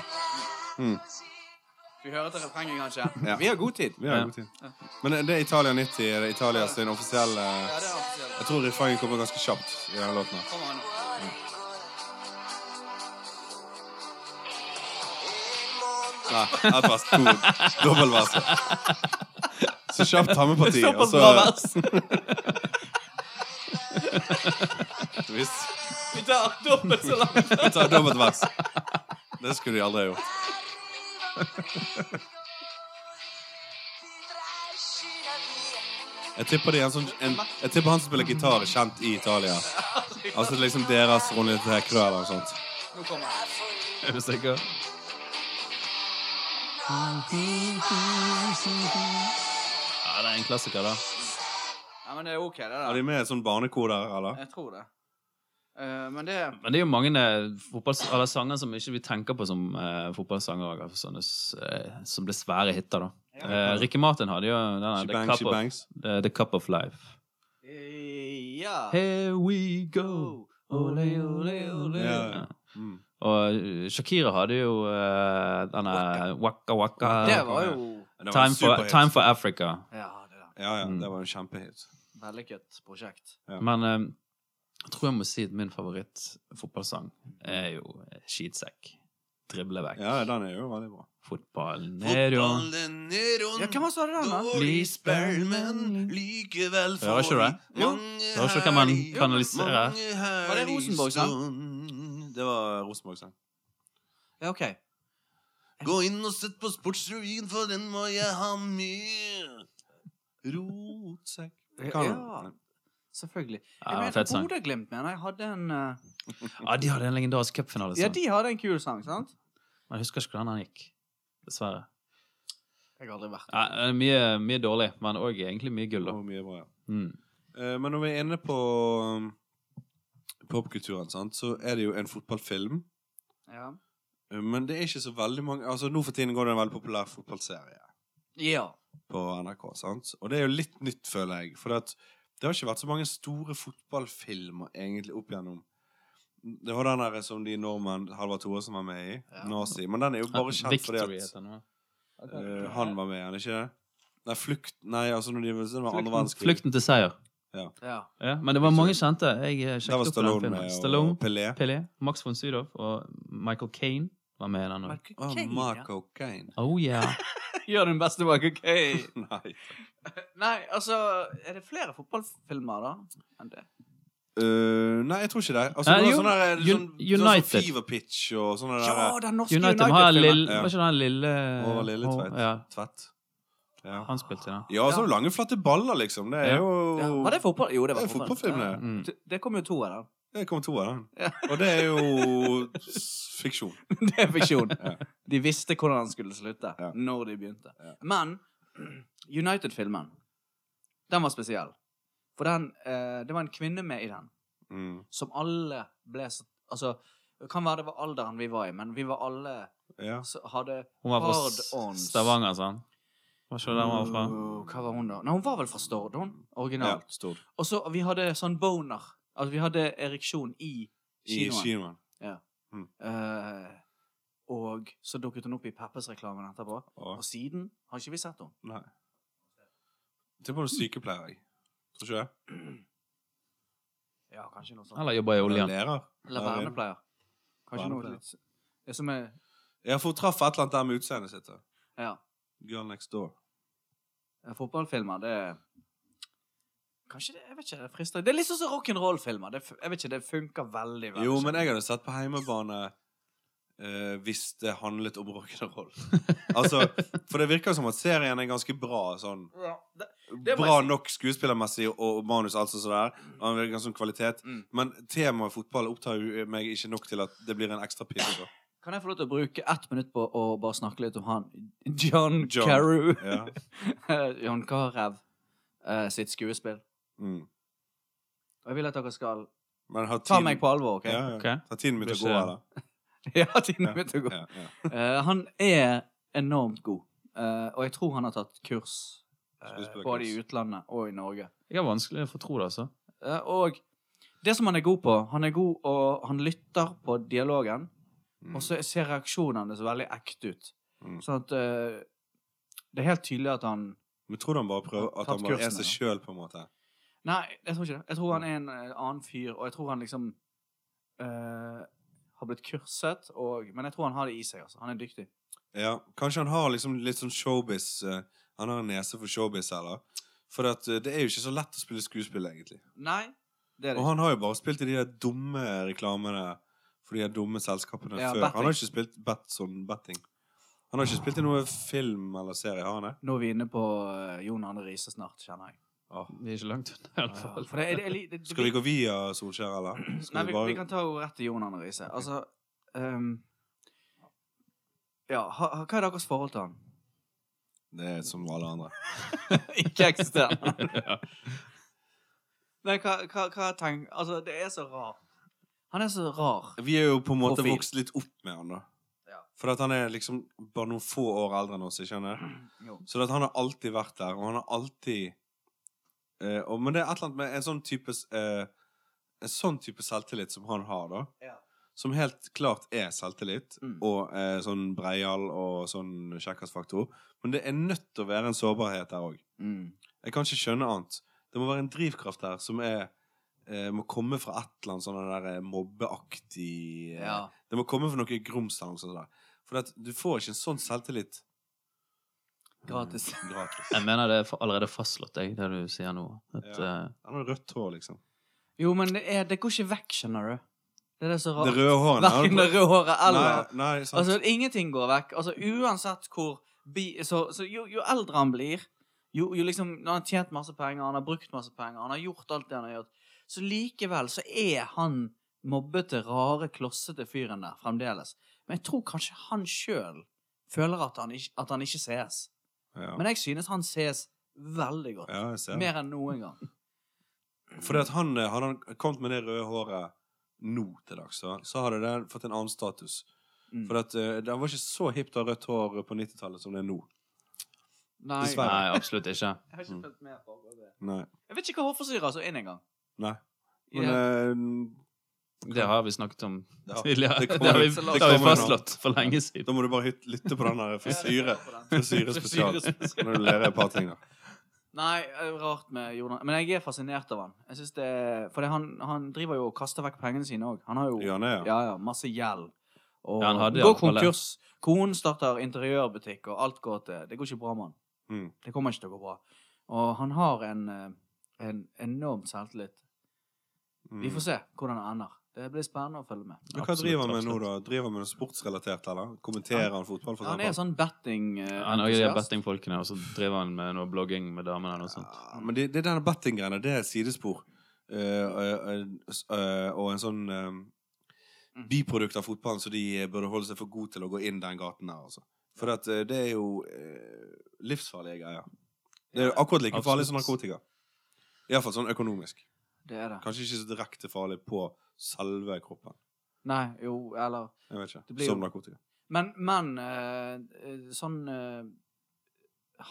Speaker 1: Mm.
Speaker 3: Vi hører til refrenget, kanskje?
Speaker 1: Ja.
Speaker 3: Vi har god tid.
Speaker 1: Vi har
Speaker 4: Ja.
Speaker 1: god tid. Men det er Italia 90. Er det Italia sin offisielle
Speaker 3: Ja, det er
Speaker 1: Jeg
Speaker 3: offisielt.
Speaker 1: tror refrenget kommer ganske kjapt i denne låten. her.
Speaker 3: Kommer han nå.
Speaker 1: Nei, ett vers. To dobbeltverser. Så kjapt altså. hammeparti, og
Speaker 3: Såpass
Speaker 1: så
Speaker 3: bra vers.
Speaker 1: Visst.
Speaker 3: Vi tar dobbelt så langt.
Speaker 1: Ta dobbelt vers. Det skulle de aldri ha gjort. Jeg tipper, de er en sånn, en, jeg tipper han som spiller gitar, er kjent i Italia. Altså liksom deres Ronny Tekrø eller noe sånt.
Speaker 3: Nå kommer han.
Speaker 4: Er du sikker? Ja, det er en klassiker, da.
Speaker 3: Ja, men det er ok, det
Speaker 1: Er
Speaker 3: der.
Speaker 1: de med i et sånt barnekor der, eller?
Speaker 3: Jeg tror det. Eh, men det
Speaker 4: Men det er jo mange eh, fotballs- eller altså, sanger som ikke vi tenker på som eh, fotballsanger. og Sånne s- eh, som ble svære hiter, da. Eh, Ricky Martin hadde jo denne the
Speaker 1: Shebangs,
Speaker 4: cup, of,
Speaker 1: shebangs.
Speaker 4: eh, the cup of Life.
Speaker 3: Eh, Ja.
Speaker 4: Here we go!
Speaker 3: Oh, Ole, ole, ole.
Speaker 1: Ja.
Speaker 4: Ja.
Speaker 1: Mm.
Speaker 4: Og Shakira hadde jo eh, denne Waka Waka.
Speaker 3: Det var jo
Speaker 1: Det var en
Speaker 4: Time for,
Speaker 1: superhit.
Speaker 4: time for Africa.
Speaker 3: Ja, det var
Speaker 1: Ja, ja,
Speaker 4: Mm.
Speaker 1: det var en kjempehit.
Speaker 3: vellykket prosjekt.
Speaker 1: Ja.
Speaker 4: Men eh, jeg tror jeg må si at min favorittfotballsang er jo eh, Skitsekk. Drible vekk.
Speaker 1: Ja, den er jo veldig bra.
Speaker 4: Fotball nedover.
Speaker 3: Ja, hvem var så det den, da?
Speaker 4: spør, men
Speaker 1: likevel
Speaker 4: Hører ikke du det? Hører ikke hva man kanaliserer?
Speaker 1: Var
Speaker 3: det Rosenborg-sang?
Speaker 1: Det var Rosenborg-sang.
Speaker 3: Ja, OK.
Speaker 1: Gå inn og sett på Sportsrevyen, for den må jeg ha med. Rotsekk Kan
Speaker 3: Ja,
Speaker 1: du?
Speaker 3: selvfølgelig. Jeg
Speaker 4: Ja,
Speaker 3: mener,
Speaker 4: fet sang.
Speaker 3: Bodø-Glimt mener jeg hadde en eh,
Speaker 4: Ja, de hadde en legendarisk cupfinale.
Speaker 3: Ja,
Speaker 4: sånn.
Speaker 3: de hadde en kul sang, sant?
Speaker 4: Men jeg husker ikke hvordan den gikk. Dessverre.
Speaker 3: Jeg har aldri vært
Speaker 4: Ja, eh, mye, mye dårlig, men òg egentlig mye gull, da.
Speaker 1: Og mye bra, ja.
Speaker 4: Mm.
Speaker 1: Eh, Men når vi er inne på um, popkulturen, sant, så er det jo en fotballfilm.
Speaker 3: Ja.
Speaker 1: Eh, Men det er ikke så veldig mange Altså, Nå for tiden går det en veldig populær fotballserie
Speaker 3: ja.
Speaker 1: på NRK. sant? Og det er jo litt nytt, føler jeg. For det, at, det har ikke vært så mange store fotballfilmer egentlig opp gjennom Det var den der som de nordmenn Halvard Thoresen var med i.
Speaker 3: Ja.
Speaker 1: Nazi. Men den er jo bare kjent fordi
Speaker 4: Victory
Speaker 1: at
Speaker 4: heter den nå.
Speaker 1: eh, han var med i den, ikke det? Nei, flukt Nei, altså når de, det var andre
Speaker 4: Flukten,
Speaker 1: verdenskrig.
Speaker 4: Flukten til seier.
Speaker 3: ja.
Speaker 4: Ja, men det var mange kjente. Jeg eh,
Speaker 1: Der var
Speaker 4: sjekket opp den
Speaker 1: Stallone
Speaker 4: filmen.
Speaker 1: med, og
Speaker 4: Stallone,
Speaker 1: Pelé.
Speaker 4: Pelé, Max von Sydow og Michael Kane var med i den òg.
Speaker 3: Michael
Speaker 1: Oh,
Speaker 3: Caine,
Speaker 1: Marco Kane.
Speaker 4: Oh yeah.
Speaker 3: ja. Gjør den beste Michael Caine.
Speaker 1: Nei.
Speaker 3: Nei, altså Er det flere fotballfilmer, da? Enn det?
Speaker 1: Øh, nei, jeg tror ikke det. Altså,
Speaker 4: Nei,
Speaker 1: det var
Speaker 4: Eh, jo,
Speaker 1: sånn der,
Speaker 4: Un-
Speaker 1: sånn, det var
Speaker 4: United.
Speaker 1: Sånn fever pitch og sånn der.
Speaker 3: Ja, den norske
Speaker 4: United har
Speaker 3: United-filmen.
Speaker 4: lille,
Speaker 1: Ja.
Speaker 4: Var ikke den lille
Speaker 1: Og Lille
Speaker 4: og-
Speaker 1: Tveit.
Speaker 4: Ja,
Speaker 1: Tvett. Ja.
Speaker 4: han spilte i den.
Speaker 1: ja, sånne lange, flate baller, liksom. Det er
Speaker 4: Ja.
Speaker 1: jo
Speaker 3: Ja, var det fotball? Jo, det
Speaker 1: Det
Speaker 3: var
Speaker 1: er fotballfilm,
Speaker 3: Ja.
Speaker 1: det.
Speaker 4: Mm.
Speaker 3: Det- Det kom jo to av dem.
Speaker 1: Det kom to av den.
Speaker 3: Ja.
Speaker 1: Og det er jo s- fiksjon.
Speaker 3: Det er fiksjon.
Speaker 1: Ja.
Speaker 3: De visste hvordan den skulle slutte,
Speaker 1: Ja.
Speaker 3: når de begynte.
Speaker 1: Ja.
Speaker 3: Men United-filmen, den var spesiell. For den, eh, det var en kvinne med i den,
Speaker 1: Mm.
Speaker 3: som alle ble så Altså, det kan være det var alderen vi var i, men vi var alle
Speaker 1: Ja.
Speaker 3: så hadde
Speaker 4: Hun var fra
Speaker 3: Hard
Speaker 4: S-
Speaker 3: ons.
Speaker 4: Stavanger, sant? Var ikke det der hun var fra?
Speaker 3: Uh, Hva var hun, da? Nei, hun var vel fra Stord, hun.
Speaker 1: ja.
Speaker 3: Originalt.
Speaker 1: Stort.
Speaker 3: Og så vi hadde sånn boner. Altså, vi hadde ereksjon i
Speaker 1: I
Speaker 3: kinoen.
Speaker 1: kinoen.
Speaker 3: Eh, og så dukket hun opp i Peppers-reklamen etterpå.
Speaker 1: Og,
Speaker 3: Og siden har ikke vi sett henne.
Speaker 1: nei. Det var jo sykepleier, jeg. Tror ikke det.
Speaker 3: Ja, kanskje noe sånt.
Speaker 4: Eller jobba i oljen.
Speaker 1: Lærer.
Speaker 3: Eller vernepleier. Kanskje noe
Speaker 1: Vernepleier.
Speaker 3: litt det som er
Speaker 1: Ja, for hun traff et eller annet der med utseendet sitt. da.
Speaker 3: Ja.
Speaker 1: Girl next door.
Speaker 3: Fotballfilmer, det er Kanskje det Jeg vet ikke. Det frister Det er litt sånn som rock'n'roll-filmer. Det, f- jeg vet ikke, det funker veldig, veldig sånn.
Speaker 1: Jo, men jeg hadde sett på heimebane eh, hvis det handlet om rock'n'roll. altså, for det virker som at serien er ganske bra sånn.
Speaker 3: ja, det, Det må jeg
Speaker 1: Bra
Speaker 3: si.
Speaker 1: nok skuespillermessig og manus, altså så der. Og han virker som kvalitet.
Speaker 3: mm.
Speaker 1: Men temaet fotball opptar jo meg ikke nok til at det blir en ekstra pille. da.
Speaker 3: Kan jeg få lov til å bruke ett minutt på å bare snakke litt om han John,
Speaker 1: John.
Speaker 3: Carew.
Speaker 1: Ja.
Speaker 3: John Carew eh, sitt skuespill.
Speaker 1: Mm.
Speaker 3: Og jeg vil at dere skal
Speaker 1: Men har
Speaker 3: ta
Speaker 1: tiden,
Speaker 3: meg på alvor, OK?
Speaker 1: Ja, ja.
Speaker 4: Ok.
Speaker 1: Har tiden begynt å gå,
Speaker 4: Beskjed.
Speaker 1: eller?
Speaker 3: Ja, tiden er begynt å gå.
Speaker 1: Ja, ja.
Speaker 3: Eh, han er enormt god, eh, og jeg tror han har tatt kurs eh,
Speaker 1: Skuespillerkurs.
Speaker 3: både i utlandet og i Norge.
Speaker 4: Jeg har vanskelig for å tro det, altså.
Speaker 3: Eh, og det som han er god på Han er god og han lytter på dialogen,
Speaker 1: Mm.
Speaker 3: og så ser reaksjonene så veldig ekte ut.
Speaker 1: Mm.
Speaker 3: Sånn at eh, det er helt tydelig at han
Speaker 1: Men tror du han bare prøver at
Speaker 3: Tatt
Speaker 1: han bare er seg
Speaker 3: kursen, ja.
Speaker 1: sjøl, på en måte?
Speaker 3: Nei, jeg tror ikke det. Jeg tror han er en eh, annen fyr, og jeg tror han liksom eh, har blitt kurset, og, men jeg tror han har det i seg. altså. Han er dyktig.
Speaker 1: Ja, kanskje han har liksom litt sånn showbiz eh, Han har en nese for showbiz, eller? For at, eh, det er jo ikke så lett å spille skuespill, egentlig.
Speaker 3: Nei, det er
Speaker 1: Og
Speaker 3: det. ikke.
Speaker 1: han har jo bare spilt i de der dumme reklamene for de der dumme selskapene
Speaker 3: Ja,
Speaker 1: før.
Speaker 3: betting.
Speaker 1: Han har ikke spilt Batson betting. Han har ikke spilt i noe film eller serie, har han det?
Speaker 3: Nå er vi inne på eh, Jon Arne Riise snart, kjenner jeg.
Speaker 4: Vi er ikke langt unna, i hvert fall.
Speaker 3: For det, er- det, er li- det, det,
Speaker 1: Skal vi gå via Solskjær, eller?
Speaker 3: Nei,
Speaker 1: Skal
Speaker 3: vi,
Speaker 1: vi bare
Speaker 3: vi kan ta henne rett til Jon Arne Riise. Altså ehm, Ja, ha, ha, hva er deres forhold til han?
Speaker 1: Det er som alle andre.
Speaker 3: Ikke eksisterende. Nei, hva, hva, hva tenk... Altså, det er så rar. Han er så rar.
Speaker 1: Vi er jo på en måte
Speaker 3: Profil.
Speaker 1: vokst litt opp med han, da.
Speaker 3: Ja.
Speaker 1: For at han er liksom bare noen få år eldre enn oss, ikke sant?
Speaker 3: Jo.
Speaker 1: Så det at han har alltid vært der, og han har alltid eh, og, Men det er et eller annet med en sånn type s- eh, En sånn type selvtillit som han har, da.
Speaker 3: Ja.
Speaker 1: Som helt klart er selvtillit,
Speaker 3: Mm.
Speaker 1: og eh, sånn breial og sånn kjekkasfaktor. Men det er nødt til å være en sårbarhet der òg.
Speaker 3: Mm.
Speaker 1: Jeg kan ikke skjønne annet. Det må være en drivkraft der som er eh, må komme fra et eller annet sånn der eh, mobbeaktig eh,
Speaker 3: Ja.
Speaker 1: Det må komme fra noe grums eller noe sånt. der. For at du får ikke en sånn selvtillit
Speaker 3: Gratis.
Speaker 1: Mm, gratis.
Speaker 4: Jeg mener det er fa- allerede fastslått, jeg, det du sier nå. At, eh,
Speaker 1: Han har rødt hår, liksom.
Speaker 3: Jo, men det, er, det går ikke vekk, skjønner du. Det er det så
Speaker 1: Det
Speaker 3: rart.
Speaker 1: røde håret
Speaker 3: Verken det røde håret eller
Speaker 1: Nei, nei, sant.
Speaker 3: Altså, ingenting går vekk. Altså, uansett hvor bi, Så, så jo, jo eldre han blir, jo, jo liksom Når han har tjent masse penger, han har brukt masse penger, han har gjort alt det han har gjort, så likevel så er han mobbete, rare, klossete fyren der fremdeles. Men jeg tror kanskje han sjøl føler at han, ikke, at han ikke ses.
Speaker 1: ja.
Speaker 3: Men jeg synes han ses veldig godt.
Speaker 1: ja, jeg ser det.
Speaker 3: Mer enn noen gang.
Speaker 1: Fordi at han, eh, hadde han kommet med det røde håret nå til dags, så, så hadde det fått en annen status.
Speaker 3: Mm.
Speaker 1: For at, eh, det var ikke så hipt å ha rødt hår på 90-tallet som det er nå.
Speaker 3: Nei,
Speaker 1: Dessverre.
Speaker 4: nei, absolutt ikke.
Speaker 3: jeg har ikke fulgt med på akkurat det.
Speaker 1: Nei.
Speaker 3: Jeg vet ikke hva hårforstyrrer så inn engang.
Speaker 1: nei.
Speaker 3: I
Speaker 1: Men
Speaker 3: det-
Speaker 1: eh,
Speaker 4: Det har vi snakket om
Speaker 1: Ja,
Speaker 4: tidligere.
Speaker 1: det
Speaker 4: Det,
Speaker 1: kommer-
Speaker 4: har vi,
Speaker 3: det
Speaker 4: det har vi
Speaker 1: kommer nå.
Speaker 4: fastslått for lenge siden.
Speaker 1: da må du bare hyt- lytte på den der frisyre. Frisyrespesial.
Speaker 3: Frisyrespesial.
Speaker 1: Kan du lære et par ting, da.
Speaker 3: Nei, eh, rart med Jordan. Men jeg er fascinert av han. Jeg synes det er- Fordi han, han driver jo og kaster vekk pengene sine òg. Han har jo ja,
Speaker 1: Ja, nei, ja.
Speaker 3: ja, masse gjeld. Og
Speaker 4: Ja, han hadde
Speaker 3: går
Speaker 4: iallfall det.
Speaker 3: konkurs. Konen starter interiørbutikk, og alt går til Det går ikke bra med han.
Speaker 1: Mm.
Speaker 3: Det kommer ikke til å gå bra. Og han har en, eh, en enorm selvtillit.
Speaker 1: Mm.
Speaker 3: Vi får se hvordan det ender. Det blir spennende å følge med.
Speaker 1: Men hva driver han med nå,
Speaker 4: Absolutt,
Speaker 1: da? Driver han med noe sportsrelatert, eller? Kommenterer han fotball, for
Speaker 3: Han er
Speaker 1: eksempel?
Speaker 3: sånn betting eh,
Speaker 4: Han er jo de
Speaker 3: entusiast.
Speaker 4: bettingfolkene, og så driver han med noe blogging med damene eller noe sånt.
Speaker 1: Ja, men det, det er denne betting-greiene. Det er et sidespor. Eh, eh, eh, eh, og en sånn
Speaker 3: Mm.
Speaker 1: eh, biprodukt av fotballen, så de eh, burde holde seg for gode til å gå inn den gaten der, altså. For at, eh, det er jo eh, livsfarlige greier. Det er jo akkurat like farlig som
Speaker 4: Absolutt.
Speaker 1: narkotika. Iallfall sånn økonomisk.
Speaker 3: Det er det.
Speaker 1: Kanskje ikke så direkte farlig på selve kroppen.
Speaker 3: Nei, jo, eller
Speaker 1: Jeg vet
Speaker 3: Det
Speaker 1: ikke.
Speaker 3: blir jo-
Speaker 1: Som narkotika.
Speaker 3: Men, men eh, eh, sånn eh,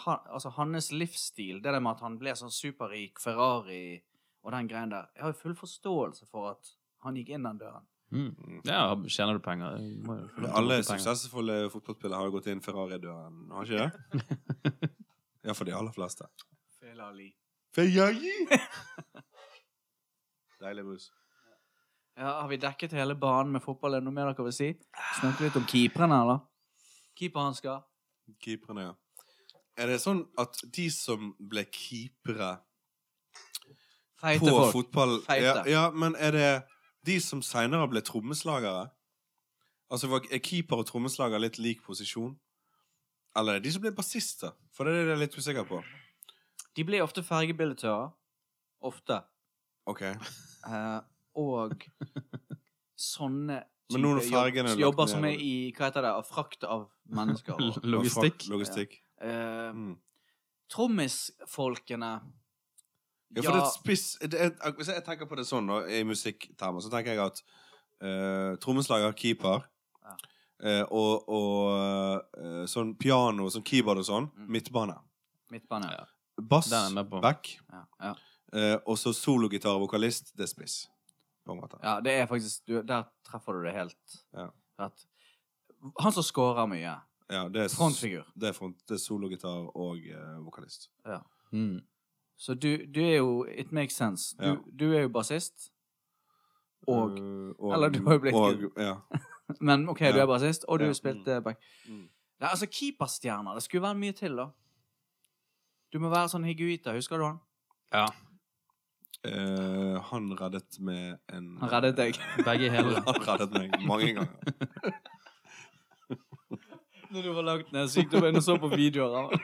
Speaker 3: ha, Altså, hans livsstil, det der med at han ble sånn superrik, Ferrari og den greien der Jeg har jo full forståelse for at han gikk inn den døren.
Speaker 4: Mm. Ja, tjener du penger? Du må jo få lov til å
Speaker 1: Alle
Speaker 4: bruke penger.
Speaker 1: suksessfulle fotballspillere har jo gått inn Ferrari-døren, har ikke det? Iallfall de aller fleste. Deilig brus.
Speaker 3: Ja, har vi dekket hele banen med fotball? Er det noe mer dere vil si?
Speaker 1: Ah.
Speaker 3: Snakke litt om keeperne, eller? Keeperhansker.
Speaker 1: Keeperne, ja. Er det sånn at de som ble keepere
Speaker 3: Feite
Speaker 1: på
Speaker 3: folk.
Speaker 1: fotball
Speaker 3: Feite.
Speaker 1: ja, ja, men er det de som seinere ble trommeslagere? Altså var- er keeper og trommeslager litt lik posisjon? Eller er det de som ble bassister? For det er det jeg er litt usikker på.
Speaker 3: De ble ofte fergebilletører. Ofte.
Speaker 1: Ok,
Speaker 3: Eh, og sånne
Speaker 1: Men nå når
Speaker 3: type
Speaker 1: fergen er
Speaker 3: jobb,
Speaker 1: lagt
Speaker 3: jobber
Speaker 1: ned,
Speaker 3: som er
Speaker 1: eller?
Speaker 3: i Hva heter det? Av frakt av mennesker. og- sånn.
Speaker 4: L- Logistikk.
Speaker 1: Fra- Logistikk.
Speaker 3: Eh,
Speaker 1: Mm.
Speaker 3: Trommisfolkene
Speaker 1: Ja, for det er spiss det er, ak- Hvis jeg tenker på det sånn da, i musikktermer, så tenker jeg at eh, trommeslager, keeper
Speaker 3: Ja.
Speaker 1: eh, og, og eh, sånn piano, sånn keyboard og sånn,
Speaker 3: Mm.
Speaker 1: midtbane.
Speaker 3: midtbane. Ja.
Speaker 1: Bass,
Speaker 4: Den er jeg med på.
Speaker 1: back.
Speaker 3: Ja, ja.
Speaker 1: Eh, og så sologitar og vokalist, det er spiss. På en måte.
Speaker 3: det er faktisk du, Der treffer du det helt
Speaker 1: Ja.
Speaker 3: rett. Han som scorer mye.
Speaker 1: Ja, det er, s-
Speaker 3: Frontfigur.
Speaker 1: det er, front, det er sologitar og eh, vokalist.
Speaker 4: Mm.
Speaker 3: Så du, du er jo It makes sense. Du,
Speaker 1: Ja.
Speaker 3: du er jo bassist. Og
Speaker 1: Eh, og
Speaker 3: Eller du har jo blitt
Speaker 1: og, ja.
Speaker 3: Men OK, du
Speaker 1: Ja.
Speaker 3: er bassist, og du
Speaker 1: Ja.
Speaker 3: spilte back.
Speaker 1: Mm.
Speaker 3: Nei, altså, keeperstjerner Det skulle være mye til, da. Du må være sånn Higuita. Husker du han?
Speaker 4: Ja.
Speaker 1: Eh, han reddet med en
Speaker 3: Han reddet deg.
Speaker 4: Begge hele.
Speaker 1: Han reddet meg mange ganger.
Speaker 3: Når du var langt ned, så gikk du inn og så på videoer av han.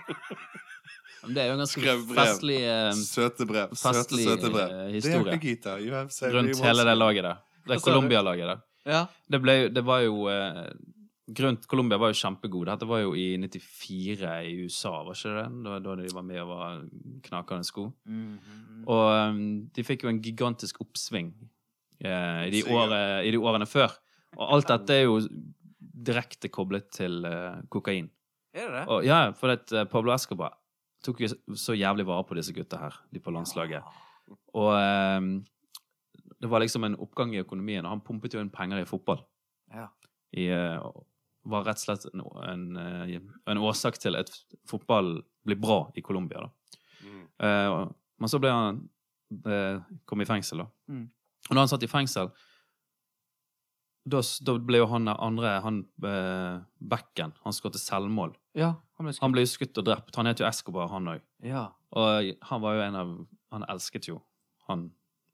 Speaker 4: Men Det er jo en ganske
Speaker 1: Skrev brev.
Speaker 4: festlig eh,
Speaker 1: Søte brev. Søte,
Speaker 4: Festlig,
Speaker 1: søte brev.
Speaker 4: eh,
Speaker 1: Det er
Speaker 4: historie.
Speaker 1: Higuita. You have saved me
Speaker 4: rundt
Speaker 1: once.
Speaker 4: hele det laget der. Det
Speaker 3: Hva sa du?
Speaker 4: Colombia-laget der.
Speaker 3: Ja.
Speaker 4: Det, ble, jo- det var jo eh, Grunt Colombia var jo kjempegod. Dette var jo i 94 i USA, var ikke det? Da, da de var med og var knakende sko.
Speaker 1: Mm.
Speaker 4: Og eh, de fikk jo en gigantisk oppsving eh, i, de
Speaker 1: Sikkert.
Speaker 4: året, i de årene før. Og alt dette er jo direkte koblet til eh, kokain.
Speaker 3: Er det det?
Speaker 4: Og, ja, for at eh, Pablo Escobar tok jo så jævlig vare på disse gutta her, de på landslaget. Og ehm, det var liksom en oppgang i økonomien, og han pumpet jo inn penger i fotball.
Speaker 3: Ja.
Speaker 4: I, eh, var rett og slett en, en, eh, en årsak til at fotball blir bra i Colombia, da.
Speaker 1: Mm.
Speaker 4: Eh, og- men så ble han eh, kom i fengsel, da.
Speaker 3: Mm.
Speaker 4: Og når han satt i fengsel, da, s- da ble jo han andre, han eh, Bekken, han skåret selvmål.
Speaker 3: Ja, han ble skutt.
Speaker 4: Han ble jo skutt og drept. Han het jo Escobar, han òg.
Speaker 3: Ja,
Speaker 4: Og han var jo en av Han elsket jo han,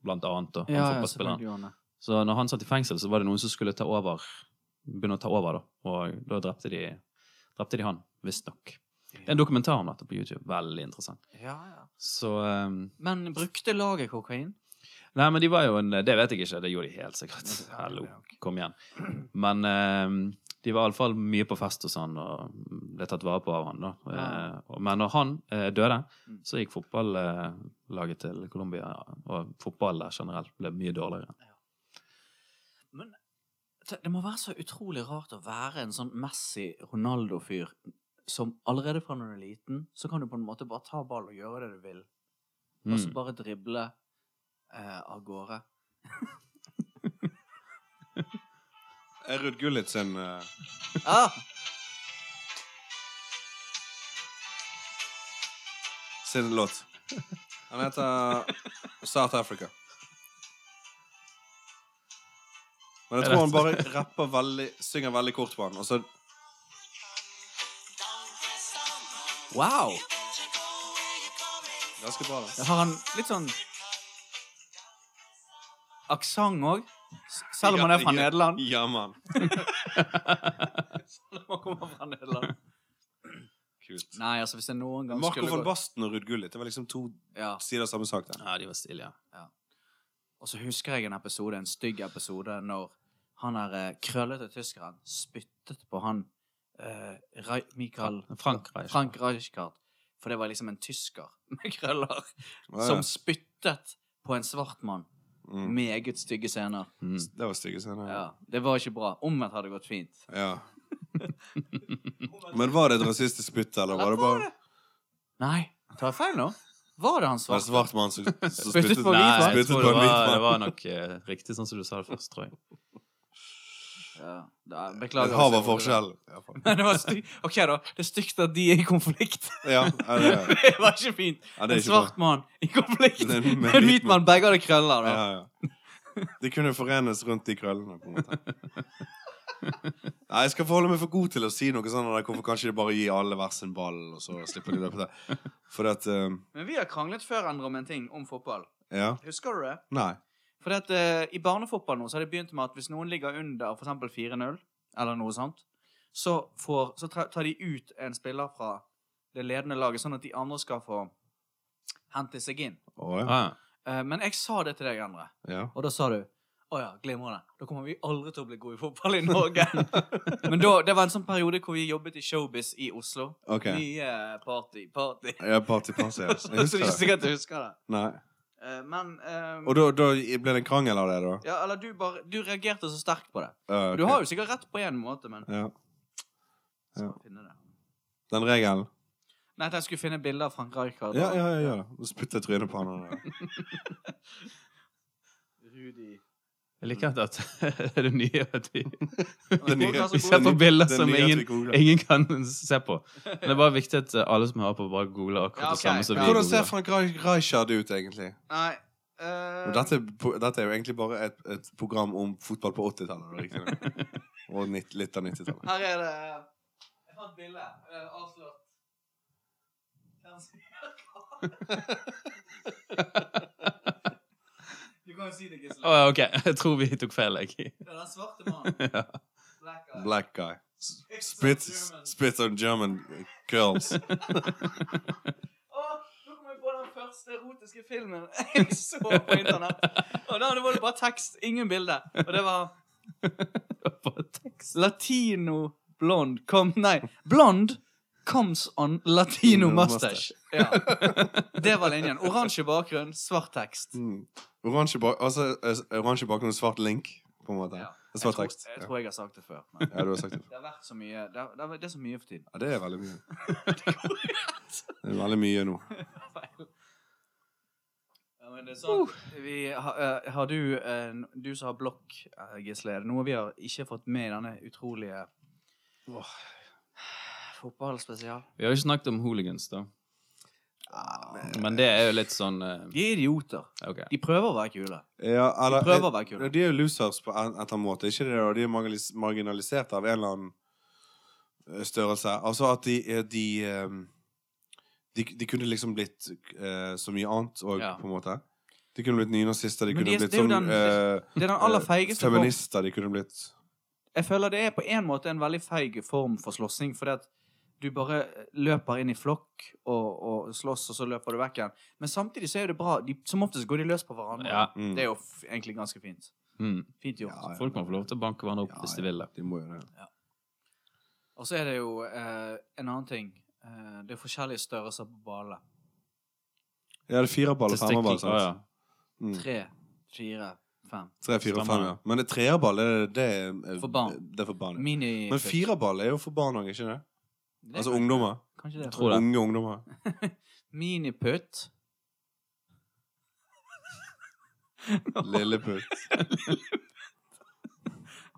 Speaker 4: blant annet, og han
Speaker 3: ja, ja
Speaker 4: fotballspilleren.
Speaker 3: selvfølgelig. gjorde han det.
Speaker 4: Så når han satt i fengsel, så var det noen som skulle ta over, begynne å ta over, da. Og da drepte de, drepte de han, visstnok. Det er en dokumentar om dette på YouTube. Veldig interessant.
Speaker 3: Ja, ja.
Speaker 4: Så eh,
Speaker 3: Men brukte laget kokain?
Speaker 4: Nei, men de var jo en Det vet jeg ikke, det gjorde de helt sikkert. Hallo, kom igjen. Men eh, de var iallfall mye på fest hos han og ble tatt vare på av han. da.
Speaker 3: Ja.
Speaker 4: Eh, og- men når han eh, døde,
Speaker 3: Mm.
Speaker 4: så gikk fotballaget til Colombia og fotball der generelt ble mye dårligere.
Speaker 3: Det det må være så utrolig rart å være en sånn Messi-Ronaldo-fyr som allerede fra når du er liten, så kan du på en måte bare ta ball og gjøre det du vil, og så
Speaker 4: Mm.
Speaker 3: bare drible eh, av gårde.
Speaker 1: Er Ruud Gullit sin eh,
Speaker 3: Ah!
Speaker 1: sin låt. Han heter South Africa. Men jeg tror han bare rapper veldig, synger veldig kort på den. Og så
Speaker 3: Wow!
Speaker 1: ganske bra. da.
Speaker 3: Da har han litt sånn aksent òg, selv om han er fra
Speaker 1: Ja, ja.
Speaker 3: Nederland.
Speaker 1: Ja, mann.
Speaker 3: Selv om han kommer fra Nederland.
Speaker 1: Kult.
Speaker 3: Nei, altså, hvis jeg noen gang
Speaker 1: Marco
Speaker 3: skulle
Speaker 1: van
Speaker 3: gå
Speaker 1: Basten og Ruud Gullit. Det var liksom to
Speaker 3: ja.
Speaker 1: sider av samme sak. der.
Speaker 4: Ja, de var stille, ja.
Speaker 3: Og så husker jeg en episode, en stygg episode, når han der eh, krøllete tyskeren spyttet på han eh, Rei- Michael
Speaker 4: Frank Reich.
Speaker 3: Frank Reichhardt. For det var liksom en tysker med krøller
Speaker 1: Ja, ja.
Speaker 3: som spyttet på en svart mann.
Speaker 1: Mm.
Speaker 3: Meget stygge scener.
Speaker 4: Mm.
Speaker 1: Det var stygge scener. Ja.
Speaker 3: Ja, det var ikke bra. Omvendt hadde gått fint.
Speaker 1: Men var det et rasistisk spytt, eller var det bare
Speaker 3: Nei, tar jeg feil nå? Var det
Speaker 1: var det
Speaker 3: han
Speaker 1: en
Speaker 3: svarte?
Speaker 1: svart mann som som
Speaker 3: Spyttet
Speaker 1: spyttet?
Speaker 3: på hvit
Speaker 4: Nei, jeg
Speaker 1: Spyttet
Speaker 4: tror
Speaker 1: på
Speaker 4: det
Speaker 1: en hvit
Speaker 4: var,
Speaker 1: mann.
Speaker 4: det var nok eh, riktig sånn som du sa det først, tror jeg.
Speaker 3: Ja, da,
Speaker 1: Et
Speaker 3: beklager.
Speaker 1: hav av forskjell. i hvert fall.
Speaker 3: Men det var stygt. Ok, da. Det er stygt at de er i konflikt.
Speaker 1: Ja, ja, det, er-
Speaker 3: Det var ikke fint.
Speaker 1: ja, det er
Speaker 3: en
Speaker 1: ikke bra.
Speaker 3: svart mann i konflikt
Speaker 1: Det er
Speaker 3: med
Speaker 1: en-
Speaker 3: en hvit mann. Begge hadde krøller. Da.
Speaker 1: Ja, ja. De kunne forenes rundt de krøllene, på en måte. Nei, jeg skal forholde meg for god til å si noe sånn der, hvorfor kanskje de bare gir alle hver sin ball, og så slipper de det på det. For at eh,
Speaker 3: Men vi har kranglet før Endre, om en ting om fotball.
Speaker 1: Ja.
Speaker 3: Husker du det?
Speaker 1: Nei.
Speaker 3: Fordi at eh, I barnefotball nå så har de begynt med at hvis noen ligger under for eksempel 4-0, eller noe sånt, så, får, så tra- tar de ut en spiller fra det ledende laget, sånn at de andre skal få hente seg inn.
Speaker 1: Å ja.
Speaker 4: Ah,
Speaker 3: Eh, men jeg sa det til deg, Endre,
Speaker 1: ja.
Speaker 3: og da sa du å ja, glimrende. Da kommer vi aldri til å bli gode i fotball i Norge. Men da, det var en sånn periode hvor vi jobbet i Showbiz i Oslo.
Speaker 1: Ok.
Speaker 3: Mye eh, party, party.
Speaker 1: Ja, party pass, ja. Jeg
Speaker 3: Så det er
Speaker 1: husker
Speaker 3: ikke
Speaker 1: det.
Speaker 3: sikkert jeg husker det.
Speaker 1: Nei.
Speaker 3: Eh, men eh,
Speaker 1: Og da, da ble det en krangel av det, da?
Speaker 3: ja, eller du, bare, du reagerte så sterkt på det.
Speaker 1: Ja, ok.
Speaker 3: Du har jo sikkert rett på én måte, men
Speaker 1: ja.
Speaker 3: så
Speaker 1: Ja.
Speaker 3: må jeg finne det.
Speaker 1: Den regelen?
Speaker 3: Nei, at jeg skulle finne bilder av Frank Rijkaard
Speaker 1: Ja, ja, ja. ja. Og Spytte trynet på han. og-
Speaker 3: og Rudi
Speaker 4: jeg liker at det er det nye at vi,
Speaker 1: Det nye-
Speaker 3: Folk er så
Speaker 4: vi ser på
Speaker 3: gode.
Speaker 4: bilder
Speaker 1: det
Speaker 4: som
Speaker 1: nye
Speaker 4: ingen
Speaker 1: at vi googler.
Speaker 4: Ingen kan se på. Men det er bare viktig at alle som hører på, bare googler akkurat
Speaker 3: Ja, ok,
Speaker 4: det samme som vi
Speaker 3: klar.
Speaker 1: Hvordan ser
Speaker 4: googler.
Speaker 1: Frank Reich- Reichard ut, egentlig?
Speaker 3: Nei.
Speaker 1: Og
Speaker 3: eh,
Speaker 1: dette, er po- dette er jo egentlig bare et, et program om fotball på 80-tallet. da, riktignok. Og nitt, litt av 90-tallet.
Speaker 3: Her er det eh, Jeg fant bilde. eh, Avslørt. Hvem som gjør hva? Du kan jo si det,
Speaker 1: Ah.
Speaker 3: Gisle.
Speaker 4: Å, ok, jeg tror vi tok feil. Jeg.
Speaker 3: Det er den svarte mannen. Black guy.
Speaker 1: Black guy. S-
Speaker 3: Extra
Speaker 1: Spit,
Speaker 3: German.
Speaker 1: spit on German girls.
Speaker 3: Å, nå kom jeg på den første erotiske filmen jeg så på internett. Og da var det bare tekst, ingen bilde. Og det var
Speaker 4: Bare tekst.
Speaker 3: Latino blond kom Nei, blond comes on latino
Speaker 1: Latino
Speaker 3: mustache. Ja. Det var linjen. Oransje bakgrunn, svart tekst.
Speaker 1: Hmm. Mm. Oransje bak, altså, eh, oransje bakgrunn og svart link, på en måte.
Speaker 3: Ja.
Speaker 1: Det er
Speaker 3: Jeg
Speaker 1: svart
Speaker 3: tror,
Speaker 1: tekst.
Speaker 3: jeg,
Speaker 1: Ja.
Speaker 3: tror jeg har sagt det før. Men
Speaker 1: ja, du har sagt det.
Speaker 3: det har vært så mye Det, har, det, har, det er så mye for tiden.
Speaker 1: Ja, det er veldig mye. Det er veldig mye nå.
Speaker 3: Ja, men det er sånn
Speaker 4: Uh.
Speaker 3: vi, har, eh, har du, eh, du som har blokk, eh, Gisle, er det noe vi har ikke fått med i denne utrolige fotballspesial?
Speaker 4: Vi har jo ikke snakket om hooligans, da. Men det er jo litt sånn eh,
Speaker 3: De er idioter.
Speaker 4: OK.
Speaker 3: De prøver å være kule.
Speaker 1: Ja, Eh,
Speaker 3: De
Speaker 1: eller,
Speaker 3: prøver å være kule.
Speaker 1: de er jo losers på en eller annen måte. Ikke det, og de er marginalis- marginalisert av en eller annen eh, størrelse. Altså at de er de eh, de, de kunne liksom blitt eh, så mye annet òg,
Speaker 3: Ja.
Speaker 1: på en måte. De kunne blitt nynazister, de
Speaker 3: Men
Speaker 1: kunne
Speaker 3: de er-
Speaker 1: blitt
Speaker 3: det er jo
Speaker 1: sånn
Speaker 3: den-
Speaker 1: eh,
Speaker 3: Det er den aller
Speaker 1: eh,
Speaker 3: feigeste form.
Speaker 1: Feminister de kunne blitt
Speaker 3: Jeg føler det er på en måte en veldig feig form for slåssing, fordi at du bare eh, løper inn i flokk og, og slåss, og så løper du vekk igjen. Men samtidig så er det bra. De, som oftest går de løs på hverandre.
Speaker 4: Ja.
Speaker 1: mm.
Speaker 3: Det er jo f egentlig ganske fint.
Speaker 4: Mm.
Speaker 3: Fint gjort.
Speaker 1: Ja, ja.
Speaker 4: Folk må få lov til å banke hverandre opp
Speaker 1: Ja,
Speaker 4: hvis
Speaker 1: ja.
Speaker 4: de vil det.
Speaker 1: De må jo det.
Speaker 3: Og så er det jo eh, en annen ting. Eh, det er forskjellige størrelser på ballene.
Speaker 1: Ja, det er fireball og
Speaker 4: Testikkel-
Speaker 1: femmerball, sant?
Speaker 4: Å, ja.
Speaker 1: Mm.
Speaker 3: Tre, fire, fem.
Speaker 1: Tre, fire og fem,
Speaker 4: Stemmer.
Speaker 1: ja. Men et treerball, er det, det er, eh,
Speaker 3: For barn.
Speaker 1: Det er for barn. ja.
Speaker 3: Mini
Speaker 1: Men fireball er jo for barn òg, ikke det?
Speaker 3: Det er
Speaker 1: Altså
Speaker 3: kanskje-
Speaker 1: ungdommer.
Speaker 3: Kanskje det.
Speaker 4: Tror det.
Speaker 1: Unge ungdommer.
Speaker 3: Miniputt.
Speaker 1: Lilleputt.